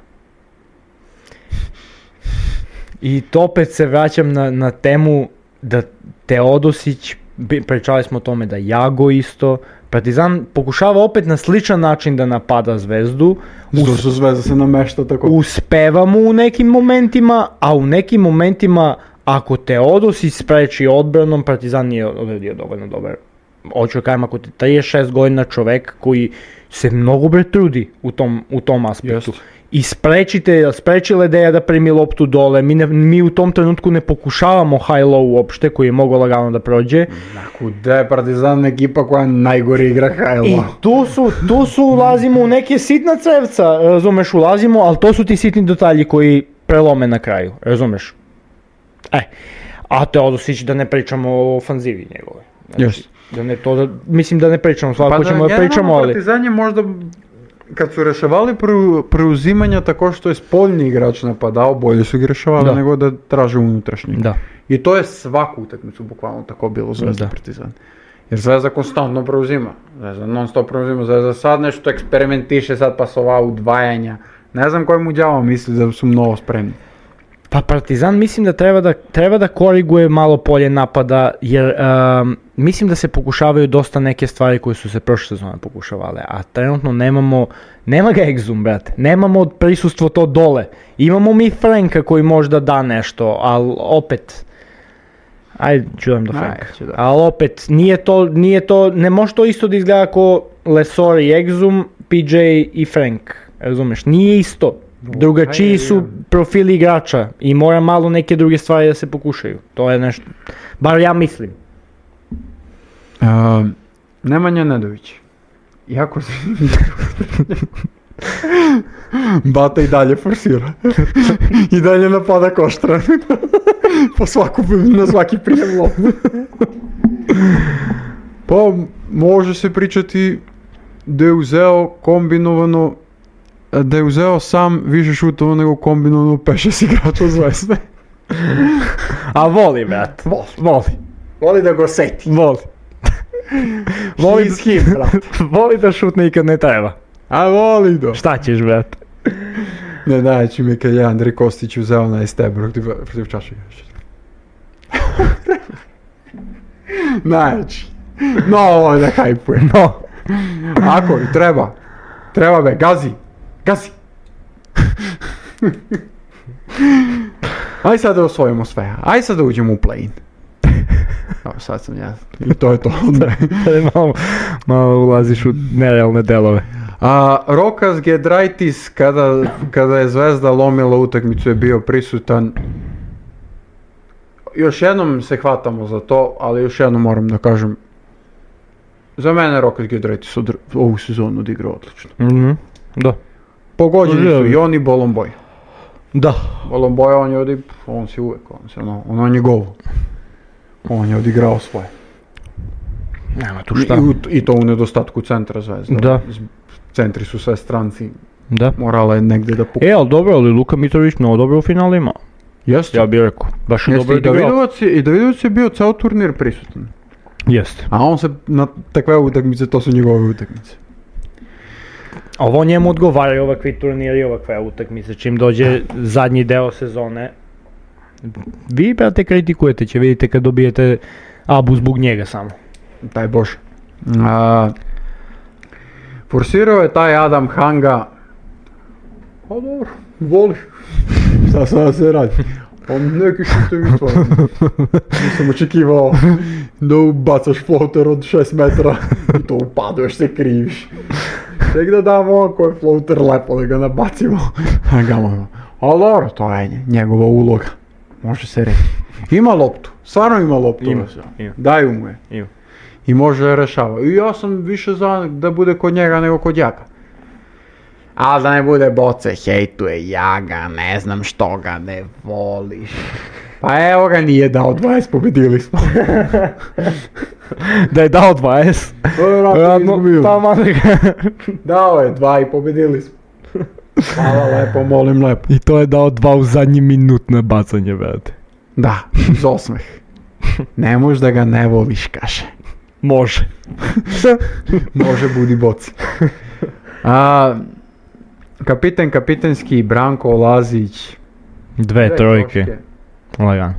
Speaker 3: I to opet se vraćam na, na temu da Teodosić, bi- pričali smo o tome da Jago isto, Partizan pokušava opet na sličan način da napada zvezdu, Uz-
Speaker 2: Zato što zvezda se namešta tako.
Speaker 3: uspeva mu u nekim momentima, a u nekim momentima ako Teodosić spreči odbranom, Partizan nije odredio dovoljno dobar. Hoću da kažem, ako te 36 godina čovek koji se mnogo bre trudi u tom, u tom aspektu.
Speaker 2: Jeste.
Speaker 3: I sprečite, spreči Ledeja da primi loptu dole, mi, ne, mi u tom trenutku ne pokušavamo high-low uopšte koji je mogao lagano da prođe.
Speaker 2: Tako da je Partizan ekipa koja najgore igra
Speaker 3: I
Speaker 2: Hajlo.
Speaker 3: tu su, tu su ulazimo u neke sitna crevca, razumeš, ulazimo, ali to su ti sitni detalji koji prelome na kraju, razumeš? E, a Teodosić da ne pričamo o ofanzivi njegove.
Speaker 2: Jeste.
Speaker 3: Da ne to, da, mislim da ne pričamo,
Speaker 2: Pa
Speaker 3: svako Pa ćemo da
Speaker 2: generalno
Speaker 3: pričamo, ali...
Speaker 2: Partizan je možda kad su rešavali preu- preuzimanja tako što je spoljni igrač napadao, bolje su ga rešavali
Speaker 3: Da.
Speaker 2: nego da traže unutrašnji.
Speaker 3: Da.
Speaker 2: I to je svaku utakmicu bukvalno tako bilo Zvezda
Speaker 3: Da.
Speaker 2: Partizan. Jer Zvezda konstantno preuzima. Zvezda non stop preuzima. Zvezda sad nešto eksperimentiše, sad pasova udvajanja. Ne znam koji mu đavo misli da su mnogo spremni.
Speaker 3: Pa Partizan mislim da treba da, treba da koriguje malo polje napada, jer em, mislim da se pokušavaju dosta neke stvari koje su se prošle sezone pokušavale, a trenutno nemamo, nema ga egzum, brate, nemamo prisustvo to dole. Imamo mi Franka koji možda da nešto, ali opet, ajde čujem do
Speaker 2: Ajde,
Speaker 3: Franka,
Speaker 2: ću da.
Speaker 3: ali opet, nije to, nije to, ne može to isto da izgleda kao Lesor i Exum, PJ i Frank, razumeš, nije isto. Drugačiji
Speaker 2: ajde,
Speaker 3: su
Speaker 2: ja.
Speaker 3: profili igrača i mora malo neke druge stvari da se pokušaju. To je nešto, bar ja mislim.
Speaker 2: Um, Nemanja Nedović. Jako se... Bata i dalje forsira. I dalje napada koštra. po svaku, na svaki prijem lopte. pa može se pričati da je uzeo kombinovano da je uzeo sam više šutova nego kombinovano 5-6 igrača zvezde.
Speaker 3: A voli, brat. Voli. Voli.
Speaker 2: Voli da ga oseti.
Speaker 3: Voli. Voli,
Speaker 2: He's him, brate.
Speaker 3: voli da šutne i kad ne treba.
Speaker 2: A voli da.
Speaker 3: Šta ćeš, brat?
Speaker 2: Ne, najjači mi je kad je Andrej Kostić uzeo onaj steb protiv, protiv Čačega. *laughs* najjači. No, ovo je da hajpuje.
Speaker 3: No.
Speaker 2: Ako i treba. Treba me, gazi. Gazi. Aj sad da osvojimo sve. Aj sad da uđemo u play-in. Evo, sad sam ja. I to je to.
Speaker 3: malo, malo ulaziš u nerealne delove.
Speaker 2: A Rokas Gedraitis kada, kada je Zvezda lomila utakmicu je bio prisutan. Još jednom se hvatamo za to, ali još jednom moram da kažem. Za mene je Rokas Gedraitis odr- ovu sezonu odigrao odlično.
Speaker 3: Mhm. Da.
Speaker 2: Pogođeni su
Speaker 3: Odlično.
Speaker 2: i on i Bolomboj.
Speaker 3: Da.
Speaker 2: Bolomboj on je odi, on si uvek, on si ono, ono njegovo. On je odigrao svoje.
Speaker 3: Nema tu
Speaker 2: I,
Speaker 3: šta.
Speaker 2: i u- I to u nedostatku centra Zvezda.
Speaker 3: Da.
Speaker 2: Z- Centri su sve stranci,
Speaker 3: Da.
Speaker 2: morala je negde da
Speaker 3: E,
Speaker 2: pukne.
Speaker 3: ali dobro, ali Luka Mitrović mnogo dobro u finalima.
Speaker 2: Jeste.
Speaker 3: Ja bih rekao. Baš je
Speaker 2: Jeste,
Speaker 3: dobro
Speaker 2: i
Speaker 3: odigrao.
Speaker 2: Davidovac, je, I Davidovac je bio ceo turnir prisutan.
Speaker 3: Jeste.
Speaker 2: A on se na takve utakmice, to su njegove utakmice.
Speaker 3: A Ovo njemu odgovara i ovakvi turniri i ovakve utakmice. Čim dođe zadnji deo sezone, vi, brate, kritikujete će, vidite kad dobijete abu zbog njega samo.
Speaker 2: Daj Bože. A, forsirao je taj Adam Hanga. A dobro, voli. Šta sad da se radi? Pa neki šutevi to. Nisam očekivao da ubacaš floater od 6 metra i to upaduješ se kriviš. Tek da damo ako je floater lepo da ga nabacimo. A gamo Ali dobro, to je njegova uloga. Može se reći. Ima loptu, stvarno ima loptu.
Speaker 3: Ima, ima.
Speaker 2: Daju mu je.
Speaker 3: Ima.
Speaker 2: I može je rešava. I ja sam više za da bude kod njega nego kod Jaka. A da ne bude boce, hejtuje Jaga, ne znam što ga ne voliš. *laughs* Pa evo ga nije dao 20, pobedili smo.
Speaker 3: Da je dao *laughs* 20.
Speaker 2: Vjerojatno
Speaker 3: Radno,
Speaker 2: izgubio.
Speaker 3: taman da ga-
Speaker 2: Dao je 2 i pobedili smo. Hvala lepo, molim lepo.
Speaker 3: I to je dao dva u zadnji minut na bacanje, brate.
Speaker 2: Da, uz osmeh. *laughs* Ne možeš da ga ne voliš, kaže.
Speaker 3: Može.
Speaker 2: Može budi *laughs* boci. A, kapiten kapitenski Branko Lazić.
Speaker 3: Dve
Speaker 2: Dve
Speaker 3: trojke. Lagano.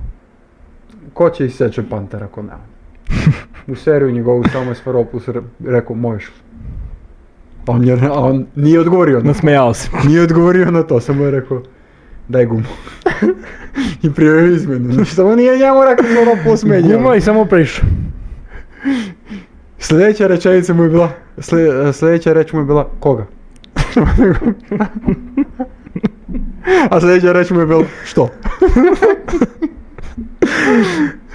Speaker 2: Ko će iseče Pantera ako ne? on? U seriju njegovu samo je Svaropus re- rekao možeš li? Pa On, je, a on nije odgovorio na,
Speaker 3: Nasmejao se.
Speaker 2: nije odgovorio na to, samo je rekao daj gumu. *laughs* I prijavio izmenu. *laughs* Ništa mu nije njemu rekao ono Svaropus menjao.
Speaker 3: Gumo i samo prišao.
Speaker 2: Sljedeća rečenica mu je bila, sle- sljedeća reč mu je bila, koga? *laughs* A sljedeća reč mu je bila, što?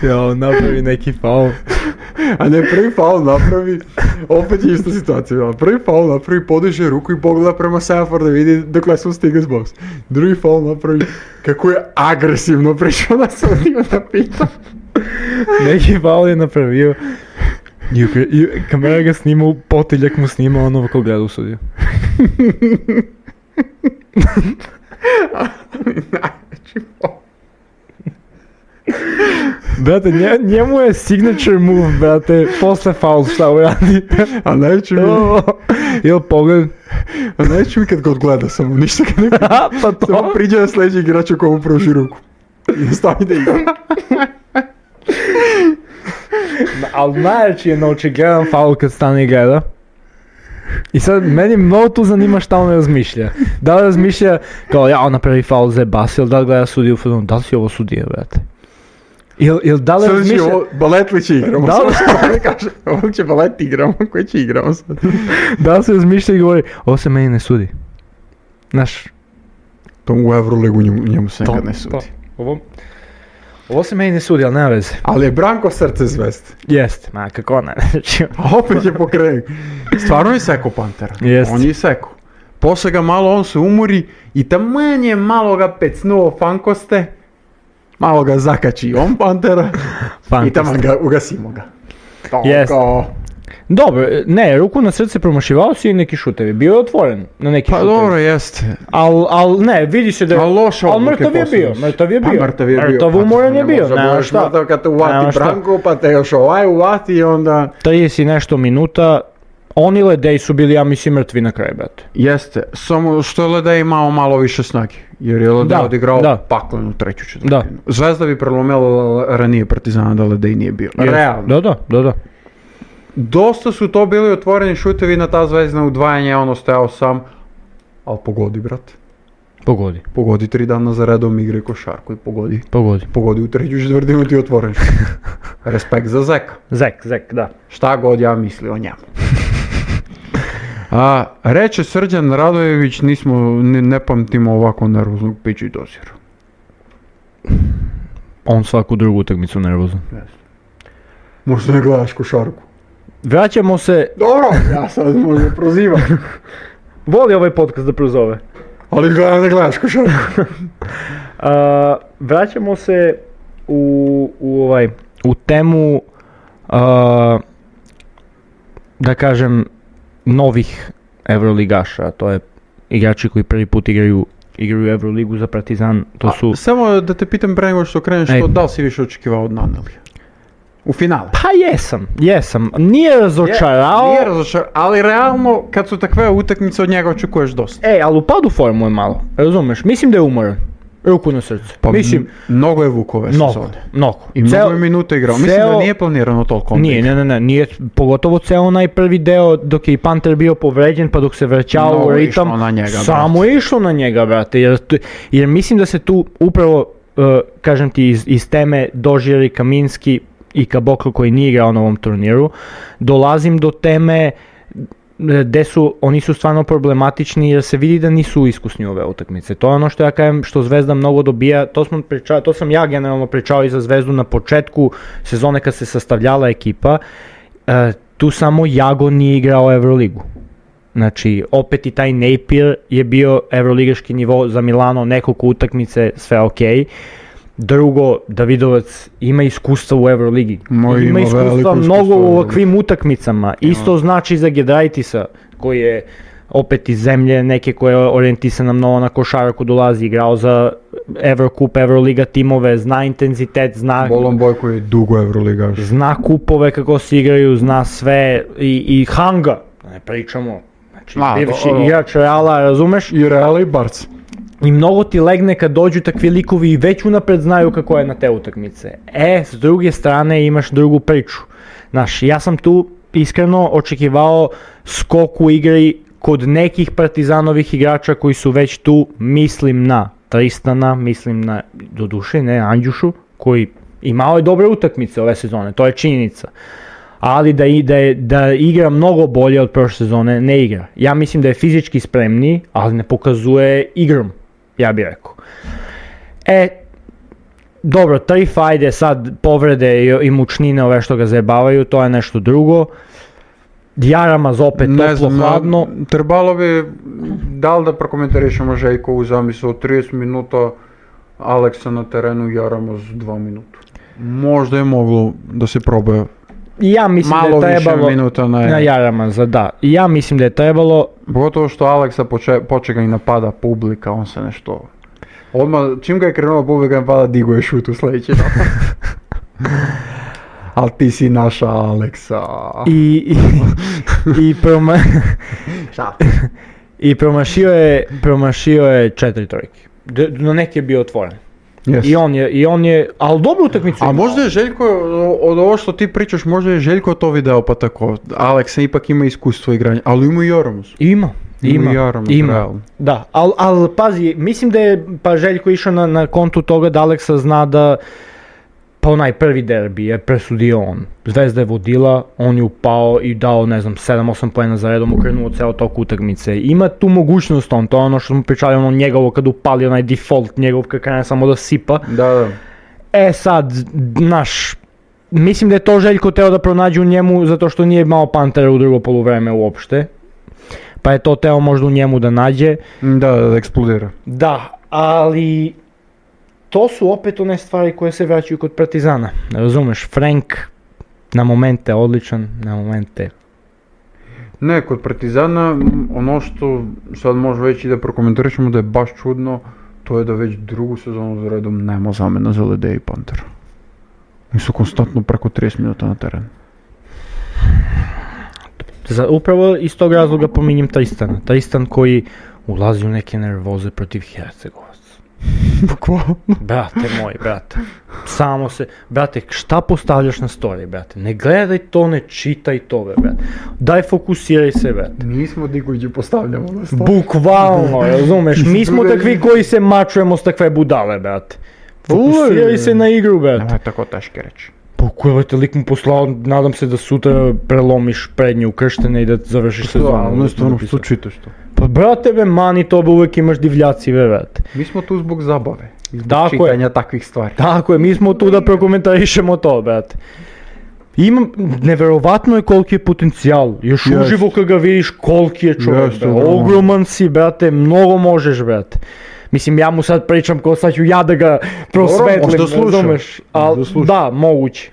Speaker 3: Jao, napravi neki faul.
Speaker 2: A ne, prvi faul napravi, opet je ista situacija bila. Prvi faul napravi, podiže ruku i pogleda prema Sanford da vidi dokle su stiga s boks. Drugi faul napravi, kako je agresivno prišao na sudiju da pita.
Speaker 3: Neki faul je napravio. I ukre- i kamera ga snima, u potiljak mu snima ono kako gleda u sudiju.
Speaker 2: Najveći faul.
Speaker 3: Brate, nje- njemu je е signature move, brate, posle faul šta uradi.
Speaker 2: A najveći mi,
Speaker 3: Ili pogled.
Speaker 2: a najveći mi kad ga odgleda samo, ništa ga ne pita.
Speaker 3: A, pa
Speaker 2: Samo
Speaker 3: to.
Speaker 2: priđe sljedeći igrač komu pruži ruku. I stavi da igra.
Speaker 3: Ali najjači je znači, na očigledan faul kad stane i gleda. I sad, meni mnogo tu zanima šta on razmišlja. Da li razmišlja kao ja on napravi faul za bas ili da li gleda sudiju u fazonu, da li si ovo sudija, brate? Ili il da li
Speaker 2: Sad će
Speaker 3: razmišlja,
Speaker 2: ovo, balet li će igramo?
Speaker 3: Da,
Speaker 2: Da,
Speaker 3: da.
Speaker 2: da. Kaže, ovo će balet igramo, koji će igramo sad?
Speaker 3: da li se razmišlja i govori, ovo se meni ne sudi. Znaš,
Speaker 2: To u Euroligu njemu, njemu se nikad ne sudi.
Speaker 3: to. Ovo, ovo se meni ne sudi, ali nema veze.
Speaker 2: Ali je Branko srce zvest.
Speaker 3: Jeste, ma kako ne, *laughs* znači,
Speaker 2: A opet je pokrenut. Stvarno je seko Pantera.
Speaker 3: Jest.
Speaker 2: On je seko. Posle ga malo on se umori i taman je malo ga pecnuo fankoste. Malo ga zakači on Pantera i
Speaker 3: fantastično.
Speaker 2: taman ga ugasimo ga. To
Speaker 3: Jest.
Speaker 2: kao-
Speaker 3: Dobro, ne, ruku na srce promašivao si i neki šutevi, bio je otvoren na neki
Speaker 2: Pa
Speaker 3: šutevi.
Speaker 2: dobro, jeste.
Speaker 3: Al, al ne, vidi se da
Speaker 2: A loše
Speaker 3: al
Speaker 2: odluke
Speaker 3: mrtav je
Speaker 2: posle.
Speaker 3: bio, mrtav je bio.
Speaker 2: Pa mrtav je bio.
Speaker 3: Mrtav umoran je bio,
Speaker 2: Ne
Speaker 3: nema
Speaker 2: možeš
Speaker 3: šta.
Speaker 2: mrtav kad te
Speaker 3: Nema
Speaker 2: uvati
Speaker 3: šta.
Speaker 2: Branko, pa te još ovaj uvati i onda...
Speaker 3: 30 i nešto minuta, oni ledej su bili, ja mislim, mrtvi na kraju, brate.
Speaker 2: Jeste, samo što je Ledej imao malo više snage, jer je Ledej
Speaker 3: Da,
Speaker 2: odigrao
Speaker 3: da.
Speaker 2: paklenu treću
Speaker 3: Da.
Speaker 2: četvrtinu. Zvezda bi prelomila ranije Partizana da Ledej nije bio.
Speaker 3: Pa
Speaker 2: Realno.
Speaker 3: Da, da, da, da.
Speaker 2: Dosta su to bili otvoreni šutevi na ta zvezdna udvajanja, ono stajao sam, ali pogodi brate.
Speaker 3: Pogodi,
Speaker 2: Pogodi tri dana za redom igre košarku i pogodi.
Speaker 3: pogodi.
Speaker 2: Pogodi u treću četvrtinu ti je otvoren
Speaker 3: *laughs*
Speaker 2: šut. Respekt za Zeka.
Speaker 3: Zek, zek, da.
Speaker 2: šta god ja mislio o njemu. A, reče Srđan Radojević, nismo, ne, ne pamtimo ovako nervoznog piću i dozira.
Speaker 3: On svaku drugu utakmicu nervozan.
Speaker 2: Možda ne gledaš košarku.
Speaker 3: Vraćamo se,
Speaker 2: Dobro, ja sad možda prozivam.
Speaker 3: voli ovaj podcast da prozove.
Speaker 2: Ali gledam ne gledaš košarku.
Speaker 3: A, vraćamo se u, u ovaj u temu a, da kažem novih evroligaša, a to je igrači koji prvi put igraju igraju Euroligu za Partizan, to su
Speaker 2: samo da te pitam pre nego što kreneš,
Speaker 3: Ej.
Speaker 2: to da li si više očekivao od Nanelija? U finale.
Speaker 3: Pa jesam, jesam. Nije razočarao.
Speaker 2: Nije razočar, ali realno kad su takve utakmice od njega očekuješ dosta.
Speaker 3: E, ali u padu formu je malo, razumeš? Mislim da je umoran. Ruku na srce.
Speaker 2: Pa
Speaker 3: Mislim,
Speaker 2: mnogo je Vukove
Speaker 3: mnogo, mnogo.
Speaker 2: I mnogo
Speaker 3: Ceo-
Speaker 2: je minuta igrao. Mislim da
Speaker 3: ceo-
Speaker 2: nije planirano toliko. on
Speaker 3: Nije, ne, ne, ne, nije, pogotovo ceo onaj prvi deo dok je i Panter bio povređen pa dok se vraćao
Speaker 2: Mnogo
Speaker 3: u
Speaker 2: je
Speaker 3: ritam,
Speaker 2: išlo na njega,
Speaker 3: samo je išlo na njega, brate, jer, tu- jer mislim da se tu upravo e, kažem ti, iz, iz teme dožiri Kaminski i Kaboklo koji nije igrao na ovom turniru, dolazim do teme e, gde su, oni su stvarno problematični jer se vidi da nisu iskusni ove utakmice. To je ono što ja kažem što Zvezda mnogo dobija, to, smo pričao, to sam ja generalno pričao i za Zvezdu na početku sezone kad se sastavljala ekipa, e, tu samo Jago nije igrao Euroligu. Znači, opet i taj Napier je bio evroligaški nivo za Milano, nekoliko utakmice, sve ok. Drugo, Davidovac ima iskustva u Euroligi.
Speaker 2: Moj ima
Speaker 3: ima
Speaker 2: veliko
Speaker 3: iskustva
Speaker 2: iskustvo
Speaker 3: mnogo
Speaker 2: u
Speaker 3: u
Speaker 2: Euroligi.
Speaker 3: ovakvim utakmicama. Isto znači za Gedraitisa, koji je opet iz zemlje neke koja je orijentisana mnogo na košarku dolazi, igrao za Eurocup, Euroliga timove, zna intenzitet, zna
Speaker 2: Bolon Boj koji je dugo Euroligaš.
Speaker 3: zna kupove kako se igraju, zna sve i, i hanga, da ne pričamo, znači
Speaker 2: Ma,
Speaker 3: bivši
Speaker 2: o- o-
Speaker 3: igrač Reala, razumeš?
Speaker 2: I Real i Barca.
Speaker 3: I mnogo ti legne kad dođu takvi likovi i već unapred znaju kako je na te utakmice. E, s druge strane imaš drugu priču. Znaš, ja sam tu iskreno očekivao skok u igri kod nekih partizanovih igrača koji su već tu, mislim na Tristana, mislim na, doduše ne, Andjušu, koji imao je dobre utakmice ove sezone, to je činjenica ali da, i- da, je- da igra mnogo bolje od prošle sezone, ne igra. Ja mislim da je fizički spremniji, ali ne pokazuje igrom, ja bih rekao. E, dobro, tri fajde sad povrede i, i mučnine ove što ga zajebavaju, to je nešto drugo. Jaramaz opet toplo,
Speaker 2: ja-
Speaker 3: hladno.
Speaker 2: Trebalo bi, da li da prokomentarišemo Željkovu zamisao, 30 minuta Aleksa na terenu jaramo s 2 minuta.
Speaker 1: Možda je moglo da se proba.
Speaker 3: Ja mislim
Speaker 2: Malo
Speaker 3: da je
Speaker 2: više
Speaker 3: trebalo...
Speaker 2: minuta na,
Speaker 3: Na Jaramaza, da. Ja mislim da je trebalo
Speaker 2: Pogotovo što Aleksa poče, poče ga i napada publika, on se nešto... Odmah, čim ga je krenula publika napada, digo je šut u *laughs* sljedeći napad. Ali ti si naša Aleksa.
Speaker 3: i, i, i proma-
Speaker 1: *laughs*
Speaker 2: Šta?
Speaker 3: I promašio je, promašio je četiri trojke. D- No neki je bio otvoren. I on je, i on je, ali dobru utakmicu
Speaker 1: A
Speaker 3: imao.
Speaker 1: možda je Željko, o- od ovo što ti pričaš, možda je Željko to video pa tako. Aleksa ipak ima iskustvo igranja, ali ima i Jormus.
Speaker 3: Ima, ima,
Speaker 1: i Jaromir,
Speaker 3: ima.
Speaker 1: realno.
Speaker 3: Da, ali al, pazi, mislim da je pa Željko išao na, na kontu toga da Aleksa zna da pa onaj prvi derbi je presudio on. Zvezda je vodila, on je upao i dao, ne znam, 7-8 poena za redom, okrenuo ceo tok utakmice. Ima tu mogućnost on, to je ono što smo pričali, ono njegovo kad upali, onaj default njegov kad krene samo da sipa.
Speaker 2: Da, da.
Speaker 3: E sad, naš, mislim da je to Željko teo da pronađe u njemu zato što nije imao Pantera u drugo poluvreme uopšte. Pa je to teo možda u njemu da nađe.
Speaker 2: Da, da, da eksplodira.
Speaker 3: Da, ali to su opet one stvari koje se vraćaju kod Partizana. Razumeš, Frank na momente odličan, na momente.
Speaker 2: Ne, kod Partizana, m, ono što sad možemo reći da prokomentarišemo da je baš čudno, to je da već drugu sezonu za redom nema zamena za Lede i Pantera. Oni su konstantno preko 30 minuta na terenu.
Speaker 3: Za, upravo iz tog razloga pominjem Tristana. Tristan koji ulazi u neke nervoze protiv Hercegovaca.
Speaker 2: Bukvalno.
Speaker 3: Brate moj, brate. Samo se, brate, šta postavljaš na story, brate? Ne gledaj to, ne čitaj to, bre, brate. Daj fokusiraj se, brate.
Speaker 2: Nismo dikući postavljamo na stol.
Speaker 3: Bukvalno, razumeš? Mi smo
Speaker 2: Druga
Speaker 3: takvi koji se mačujemo s takve budale, brate.
Speaker 2: Ujej.
Speaker 3: Fokusiraj se na igru, brate.
Speaker 2: Nemoj tako teške reći.
Speaker 3: Pokujevajte, lik mu poslao, nadam se da sutra prelomiš prednje ukrštene i da završiš sezonu.
Speaker 2: Stvarno,
Speaker 3: da
Speaker 2: ne
Speaker 3: sam
Speaker 2: stvarno,
Speaker 3: napisao.
Speaker 2: što čitaš to?
Speaker 3: Pa brate, be, mani to, be, uvek imaš divljaci, be, brate.
Speaker 2: Mi smo tu zbog zabave. i Zbog
Speaker 3: Tako je.
Speaker 2: čitanja takvih stvari.
Speaker 3: Tako je, mi smo tu da prokomentarišemo to, brate. Imam, neverovatno je koliki je potencijal, još
Speaker 2: Jeste.
Speaker 3: uživo kad ga vidiš koliki je čovjek,
Speaker 2: Jeste,
Speaker 3: brate.
Speaker 2: ogroman.
Speaker 3: ogroman si, brate, mnogo možeš, brate. Mislim, ja mu sad pričam ko sad ću ja da ga prosvetlim,
Speaker 2: možda sluša.
Speaker 3: razumeš? Al,
Speaker 2: Možda sluša.
Speaker 3: da, moguće.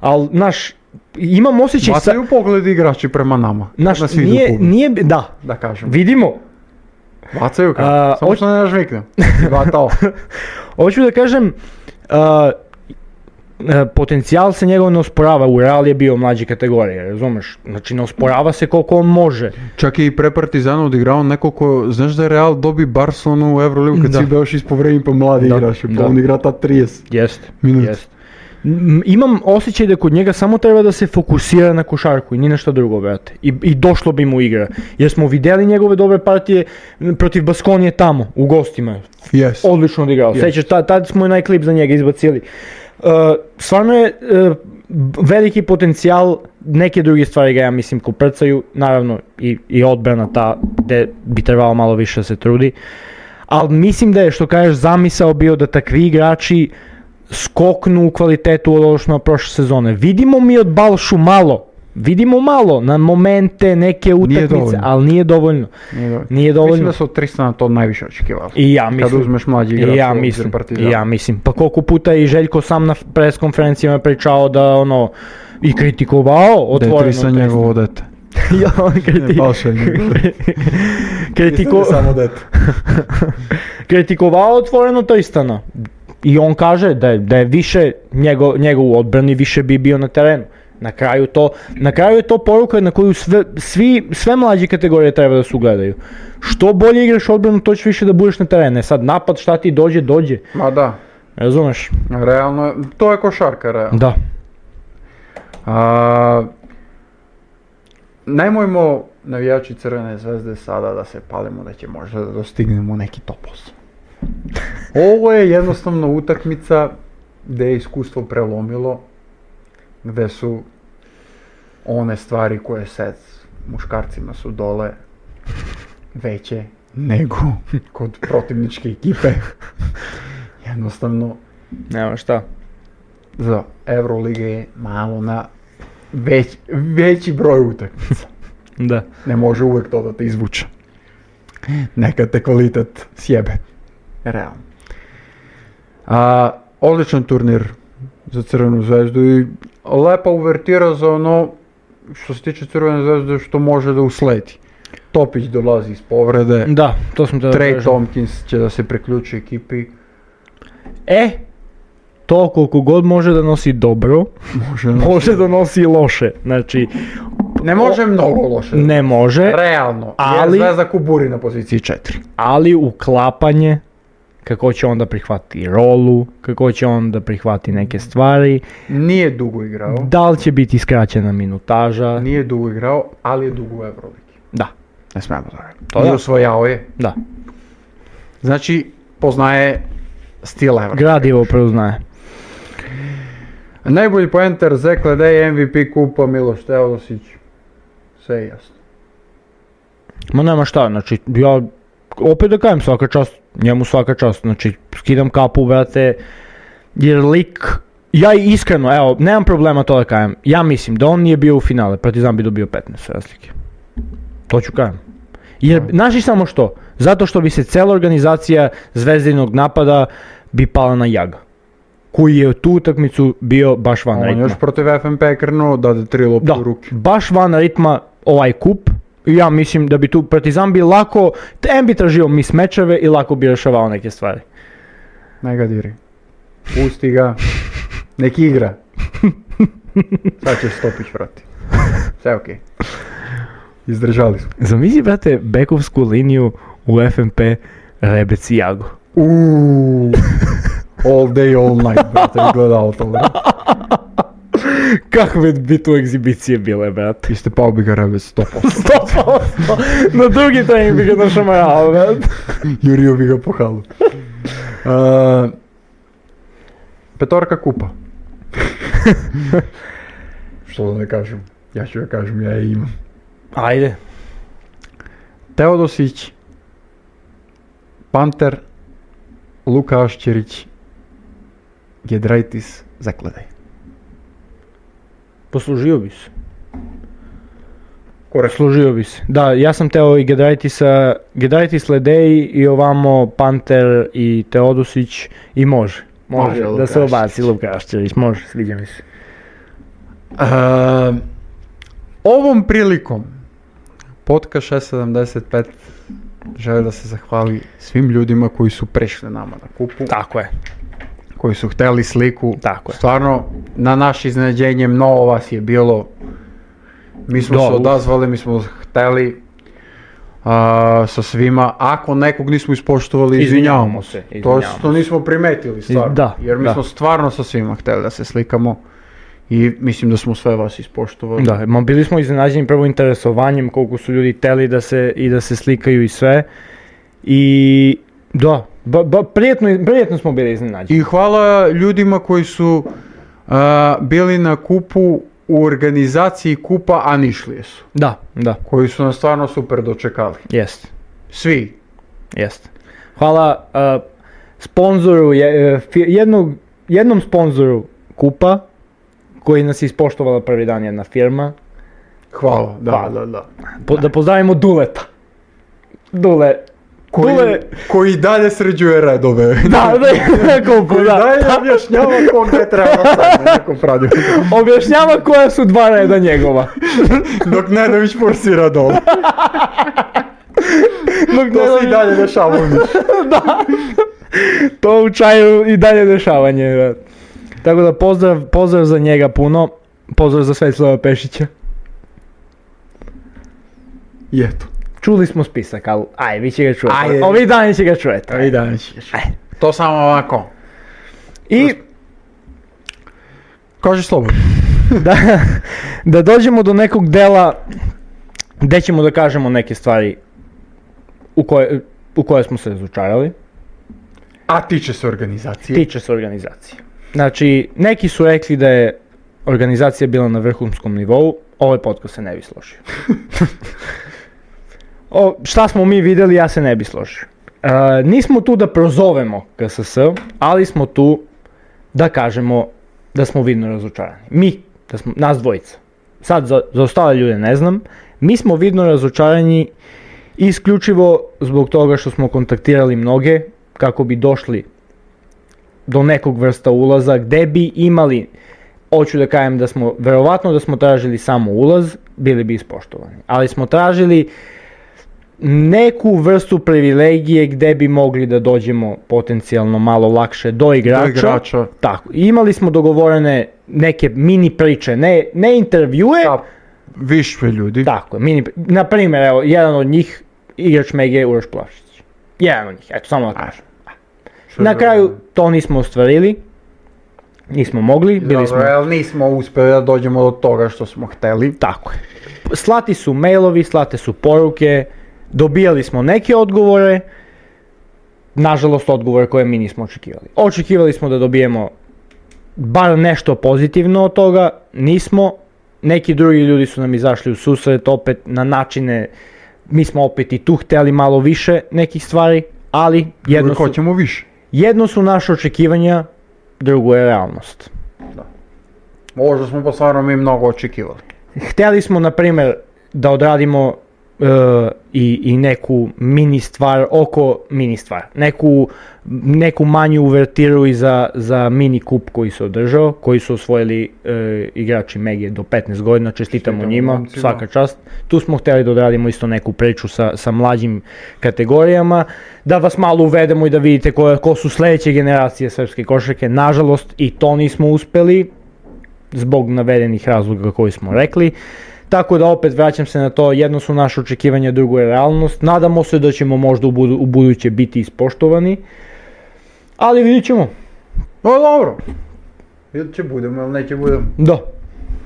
Speaker 3: Ali, znaš, imam osjećaj sa...
Speaker 2: Bacaju pogled igrači prema nama.
Speaker 3: Naš,
Speaker 2: nas vide u
Speaker 3: nije,
Speaker 2: publici,
Speaker 3: nije, da,
Speaker 2: Da kažem.
Speaker 3: vidimo,
Speaker 2: Bacaju kao.
Speaker 3: A,
Speaker 2: Samo
Speaker 3: hoć-
Speaker 2: što ne nažmiknem. Vatao.
Speaker 3: Hoću da kažem, a, e, potencijal se njegov ne osporava, u Real je bio mlađe kategorije, razumeš? Znači ne osporava se koliko on može.
Speaker 1: Čak je i pre Partizana odigrao nekoliko, znaš da je Real dobi Barcelonu u Euroligu kad
Speaker 3: Da.
Speaker 1: si bio još ispovredim pa mladi
Speaker 3: Da,
Speaker 1: igraš, pa
Speaker 3: da.
Speaker 1: on igra ta 30.
Speaker 3: Jeste,
Speaker 1: Minut.
Speaker 3: jeste. M- Imam osjećaj da kod njega samo treba da se fokusira na košarku i ni na šta drugo, brate. I, I došlo bi mu igra. Jer smo vidjeli njegove dobre partije m, protiv Baskonije tamo, u gostima.
Speaker 2: Yes.
Speaker 3: Odlično odigrao.
Speaker 2: Jest.
Speaker 3: Sećaš, ta- tad smo i onaj klip za njega izbacili. Uh, stvarno je uh, b- veliki potencijal, neke druge stvari ga ja mislim koprcaju, naravno i, i odbrana ta gde bi trebalo malo više da se trudi. Ali mislim da je što kažeš zamisao bio da takvi igrači skoknu u kvalitetu od ovo što smo prošle sezone. Vidimo mi od Balšu malo, vidimo malo na momente, neke utakmice,
Speaker 2: dovoljno.
Speaker 3: ali nije dovoljno.
Speaker 2: Nije dovoljno.
Speaker 3: Nije
Speaker 2: Mislim
Speaker 3: dovoljno.
Speaker 2: da su od Tristana to najviše očekivali.
Speaker 3: I ja
Speaker 2: Kad
Speaker 3: mislim.
Speaker 2: uzmeš mlađi
Speaker 3: I
Speaker 2: igrač
Speaker 3: ja mislim, i ja mislim. Pa koliko puta je i Željko sam na pres konferencijama pričao da ono i kritikovao
Speaker 2: Da je
Speaker 3: otvoreno.
Speaker 2: Tristan
Speaker 3: Tristan.
Speaker 2: njegovo dete.
Speaker 3: ja, on *laughs* kriti... *laughs*
Speaker 2: Balša je njegovo
Speaker 3: kritiko...
Speaker 2: samo dete.
Speaker 3: *laughs* kritikovao otvoreno Tristana. I on kaže da je, da je više njegov, njegov odbrani više bi bio na terenu. Na kraju, to, na kraju je to poruka na koju sve, svi, sve mlađe kategorije treba da se ugledaju. Što bolje igraš odbranu, to ćeš više da budeš na terenu. E Sad napad, šta ti dođe, dođe.
Speaker 2: Ma da,
Speaker 3: Razumeš?
Speaker 2: realno, je- to je košarka, realno.
Speaker 3: Da.
Speaker 2: A, nemojmo navijači Crvene zvezde sada da se palimo da će možda da dostignemo neki topos. Ovo je jednostavno utakmica gdje je iskustvo prelomilo, gdje su one stvari koje se muškarcima su dole veće nego kod protivničke ekipe. Jednostavno,
Speaker 3: Nema šta.
Speaker 2: za Euroliga je malo na već, veći broj utakmica.
Speaker 3: Da.
Speaker 2: Ne može uvek to da te izvuče. Nekad te kvalitet sjebe. Realno. A, odličan turnir za Crvenu zvezdu i lepa uvertira za ono što se tiče Crvene zvezde što može da usledi. Topić dolazi iz povrede,
Speaker 3: Da, to sam te da
Speaker 2: Trey
Speaker 3: kažem.
Speaker 2: Tompkins će da se priključi ekipi,
Speaker 3: E, to koliko god može da nosi dobro, *laughs*
Speaker 2: može,
Speaker 3: može da nosi i loše. Znači,
Speaker 2: ne može mnogo loše.
Speaker 3: ne može,
Speaker 2: Realno, ali...
Speaker 3: Ali-
Speaker 2: jer Zvezda kuburi na poziciji 4.
Speaker 3: ali uklapanje, kako će on da prihvati rolu, kako će on da prihvati neke stvari,
Speaker 2: Nije dugo igrao,
Speaker 3: da li će biti skraćena minutaža,
Speaker 2: nije dugo igrao, ali je dugo u Euroligi.
Speaker 3: da,
Speaker 2: Ne smemo zaraditi.
Speaker 3: To
Speaker 2: I
Speaker 3: da.
Speaker 2: osvojao je.
Speaker 3: da,
Speaker 2: Znači, poznaje stil Euroligi.
Speaker 3: gradivo preznaje.
Speaker 2: Najbolji poenter Zek Ledej, MVP kupa Miloš Teodosić. Sve je jasno.
Speaker 3: Ma nema šta, znači, ja opet da kažem svaka čast, njemu svaka čast, znači, skidam kapu, brate, jer lik, ja i iskreno, evo, nemam problema to da kažem, ja mislim da on nije bio u finale, Partizan bi dobio 15 razlike. To ću kažem. Jer, znaš i samo što, zato što bi se cela organizacija zvezdinog napada bi pala na jaga, koji je tu utakmicu bio baš van
Speaker 2: On je
Speaker 3: ritma.
Speaker 2: još protiv FNP krenuo, dade tri lopte
Speaker 3: Da,
Speaker 2: u ruke.
Speaker 3: baš van ritma ovaj kup. I Ja mislim da bi tu Partizan bi lako, em bi tražio mismečeve i lako bi rešavao neke stvari.
Speaker 2: Ne ga diri. Pusti ga. Nek *laughs* igra. Sad će Stopić vrati. Sve okej. Izdržali smo.
Speaker 3: Zamisli, brate, bekovsku liniju u FMP Rebec i Jago.
Speaker 2: Uuu, all day, all night, brate, gledao to, brate.
Speaker 3: Kakve bi tu egzibicije bile, brate? *laughs*
Speaker 2: Iste pao bi ga rebec 100%,
Speaker 3: Stopao Na drugi trening bi ga našamarao, brate.
Speaker 2: jurio bi ga po halu. Uh, petorka kupa. Što da ne kažem, ja ću da kažem, ja je imam.
Speaker 3: Ajde.
Speaker 2: Teodosić, Panter, Luka Ašćerić, Gedraitis, zakladaj.
Speaker 3: Poslužio bi se.
Speaker 2: Korak.
Speaker 3: Služio bi se. Da, ja sam teo i Gedraitisa, Gedraitis Ledeji i ovamo Panter i Teodosić i može. Može,
Speaker 2: Može,
Speaker 3: da se
Speaker 2: Lukašević.
Speaker 3: obaci Lukaščević, može, sviđa mi se.
Speaker 2: Ehm, ovom prilikom podcast 675 želi da se zahvali svim ljudima koji su prešli nama na kupu,
Speaker 3: Tako je,
Speaker 2: koji su hteli sliku.
Speaker 3: tako je.
Speaker 2: Stvarno, na naše iznenađenje mnogo vas je bilo. Mi smo
Speaker 3: Da,
Speaker 2: se
Speaker 3: uf.
Speaker 2: odazvali, mi smo hteli. a, sa svima. Ako nekog nismo ispoštovali, izvinjavamo se. To
Speaker 3: izvinjavamo
Speaker 2: je što nismo primetili stvarno.
Speaker 3: Da,
Speaker 2: jer mi
Speaker 3: da.
Speaker 2: smo stvarno sa svima hteli da se slikamo i mislim da smo sve vas ispoštovali.
Speaker 3: Da, ma bili smo iznenađeni prvo interesovanjem koliko su ljudi teli da se, i da se slikaju i sve. I da, ba, ba, prijetno, prijetno smo bili iznenađeni.
Speaker 2: I hvala ljudima koji su a, bili na kupu u organizaciji kupa, a nišlije su.
Speaker 3: Da, da,
Speaker 2: Koji su nas stvarno super dočekali.
Speaker 3: jest,
Speaker 2: Svi.
Speaker 3: jest. Hvala uh, sponzoru, je, e, fi- jednog, jednom sponzoru Kupa, koji nas je ispoštovala prvi dan jedna firma,
Speaker 2: Hvala. Da,
Speaker 3: Hvala.
Speaker 2: da, da.
Speaker 3: Po- da pozdravimo Duleta. Dule,
Speaker 2: Koji,
Speaker 3: Dule,
Speaker 2: koji dalje sređuje redove. *laughs*
Speaker 3: da, da, Kupu,
Speaker 2: koji
Speaker 3: da.
Speaker 2: dalje objašnjava *laughs* ko gde treba sad na nekom radiju.
Speaker 3: Objašnjava koja su dva reda njegova.
Speaker 2: Dok Nedović forsira dol.
Speaker 3: Dok
Speaker 2: To se i
Speaker 3: Nedović-
Speaker 2: dalje dešava u Nišu.
Speaker 3: To u čaju i dalje dešavanje. Da. Tako da pozdrav, pozdrav za njega puno. Pozdrav za Svetlava Pešića.
Speaker 2: I eto.
Speaker 3: Čuli smo spisak, ali aj, vi će ga čujete.
Speaker 2: Ajde.
Speaker 3: Ovi dani će ga čujete.
Speaker 2: I dalje ćeš. To samo ovako.
Speaker 3: I
Speaker 2: Kaži slobodno.
Speaker 3: *laughs* da, da dođemo do nekog dela gde ćemo da kažemo neke stvari u koje, u koje smo se razočarali.
Speaker 2: A tiče se organizacije.
Speaker 3: Tiče se organizacije. Znači, neki su rekli da je organizacija bila na vrhunskom nivou, ovaj podcast se ne bi složio. o, šta smo mi vidjeli, ja se ne bi složio. E, nismo tu da prozovemo KSS, ali smo tu da kažemo da smo vidno razočarani. Mi, da smo, nas dvojica. Sad za, za ostale ljude ne znam, mi smo vidno razočarani isključivo zbog toga što smo kontaktirali mnoge kako bi došli do nekog vrsta ulaza gde bi imali, hoću da kažem da smo, verovatno da smo tražili samo ulaz, bili bi ispoštovani. Ali smo tražili neku vrstu privilegije gde bi mogli da dođemo potencijalno malo lakše do igrača.
Speaker 2: igrača.
Speaker 3: Tako, imali smo dogovorene neke mini priče, ne, ne intervjue,
Speaker 2: Da, više ljudi.
Speaker 3: tako je, mini, na primjer, evo, jedan od njih, igrač Mege Uroš Plašić. Jedan od njih, eto, samo da kažem.
Speaker 2: Što je
Speaker 3: Na
Speaker 2: bilo-
Speaker 3: kraju to nismo ostvarili, nismo mogli, bili
Speaker 2: Dobro,
Speaker 3: smo...
Speaker 2: jel nismo uspjeli da dođemo do toga što smo hteli.
Speaker 3: Tako je. Slati su mailovi, slate su poruke, dobijali smo neke odgovore, nažalost odgovore koje mi nismo očekivali. Očekivali smo da dobijemo bar nešto pozitivno od toga, nismo. Neki drugi ljudi su nam izašli u susret opet na načine, mi smo opet i tu hteli malo više nekih stvari, ali jedno
Speaker 2: Uvijek
Speaker 3: su,
Speaker 2: hoćemo više.
Speaker 3: jedno su naše očekivanja, drugo je realnost.
Speaker 2: Možda smo pa stvarno mi mnogo očekivali.
Speaker 3: Htjeli smo, na primjer, da odradimo e, i, i neku mini stvar oko mini stvar. Neku, neku manju uvertiru i za, za mini kup koji se održao, koji su osvojili e, igrači Megije do 15 godina, čestitamo
Speaker 2: Čestitamo
Speaker 3: njima,
Speaker 2: momcima.
Speaker 3: svaka čast. Tu smo htjeli da odradimo isto neku priču sa, sa mlađim kategorijama, da vas malo uvedemo i da vidite ko, ko su sljedeće generacije srpske košarke. Nažalost, i to nismo uspeli, zbog navedenih razloga koji smo rekli. Tako da opet vraćam se na to, jedno su naše očekivanja, drugo je realnost. Nadamo se da ćemo možda u, budu, u buduće biti ispoštovani, ali vidit ćemo.
Speaker 2: No dobro. Ili će budemo ili neće budemo.
Speaker 3: Da,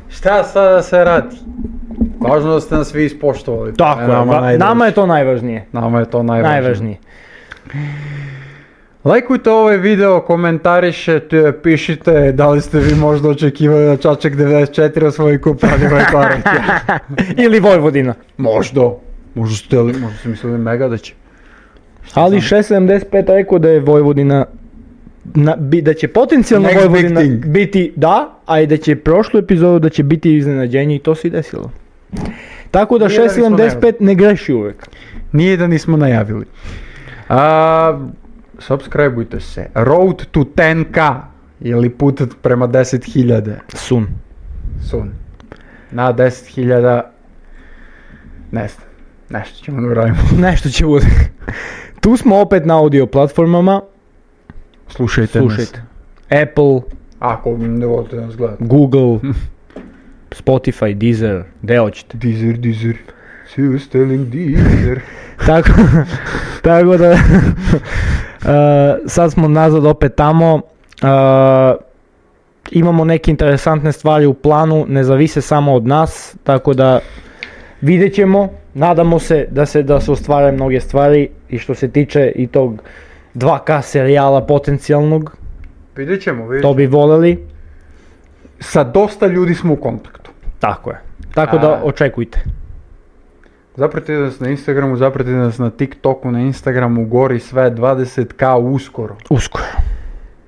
Speaker 2: Šta sada se radi? Važno da ste nas vi ispoštovali.
Speaker 3: tako
Speaker 2: E,
Speaker 3: je, ba- nama,
Speaker 2: najdraže.
Speaker 3: je to najvažnije.
Speaker 2: Nama je to najvažnije.
Speaker 3: Najvažnije.
Speaker 2: Lajkujte ovaj video, komentarišete, pišite da li ste vi možda očekivali da Čačak 94 osvoji kup ovaj Radio
Speaker 3: *laughs*
Speaker 2: Vajkvarać.
Speaker 3: Ili Vojvodina.
Speaker 2: možda. Možda ste, li- možda ste mislili mega da će.
Speaker 3: Ali 675 rekao da je Vojvodina na, bi, da će potencijalno
Speaker 2: Next big
Speaker 3: Vojvodina
Speaker 2: thing.
Speaker 3: biti da, a i da će prošlu epizodu da će biti iznenađenje i to se i desilo. Tako da
Speaker 2: Nije da nismo
Speaker 3: 675 ne greši uvek.
Speaker 2: Nije da nismo najavili. A, subscribeujte se. Road to 10k ili put prema 10.000.
Speaker 3: Sun.
Speaker 2: Sun. Na 10.000 ne znam. Nešto ćemo da uradimo.
Speaker 3: Nešto će bude. Tu smo opet na audio platformama.
Speaker 2: Slušajte,
Speaker 3: Slušajte. Apple,
Speaker 2: Ako ne volite nas gledati.
Speaker 3: Google, Spotify, Deezer, gde hoćete.
Speaker 2: Deezer, Deezer. Who's telling dealer?
Speaker 3: Tako, *laughs* tako da, *laughs* e, sad smo nazad opet tamo, E, imamo neke interesantne stvari u planu, ne zavise samo od nas, tako da vidjet ćemo, nadamo se da se, da se ostvare mnoge stvari i što se tiče i tog 2K serijala potencijalnog,
Speaker 2: Vidjet ćemo, vidjet
Speaker 3: to
Speaker 2: ćemo.
Speaker 3: bi voleli,
Speaker 2: Sa dosta ljudi smo u kontaktu.
Speaker 3: tako je. Tako da
Speaker 2: A.
Speaker 3: očekujte.
Speaker 2: Zapratite nas na Instagramu, zapratite nas na TikToku, na Instagramu, gori sve 20k uskoro.
Speaker 3: Uskoro.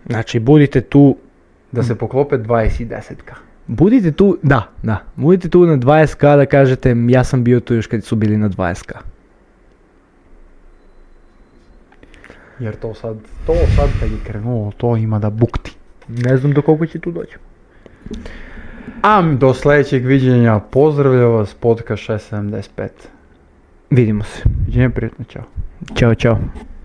Speaker 3: Znači, budite tu
Speaker 2: Da se poklope 20 i 10k.
Speaker 3: Budite tu, da, da, budite tu na 20k da kažete "M, ja sam bio tu još kad su bili na 20k.
Speaker 2: Jer to sad, to sad kad je krenulo, to ima da bukti.
Speaker 3: Ne znam do koliko će tu doći.
Speaker 2: Am do sljedećeg viđenja, pozdravlja vas podcast 675.
Speaker 3: Vidimo se.
Speaker 2: Viđenje prijatno, čao.
Speaker 3: Ćao, čao.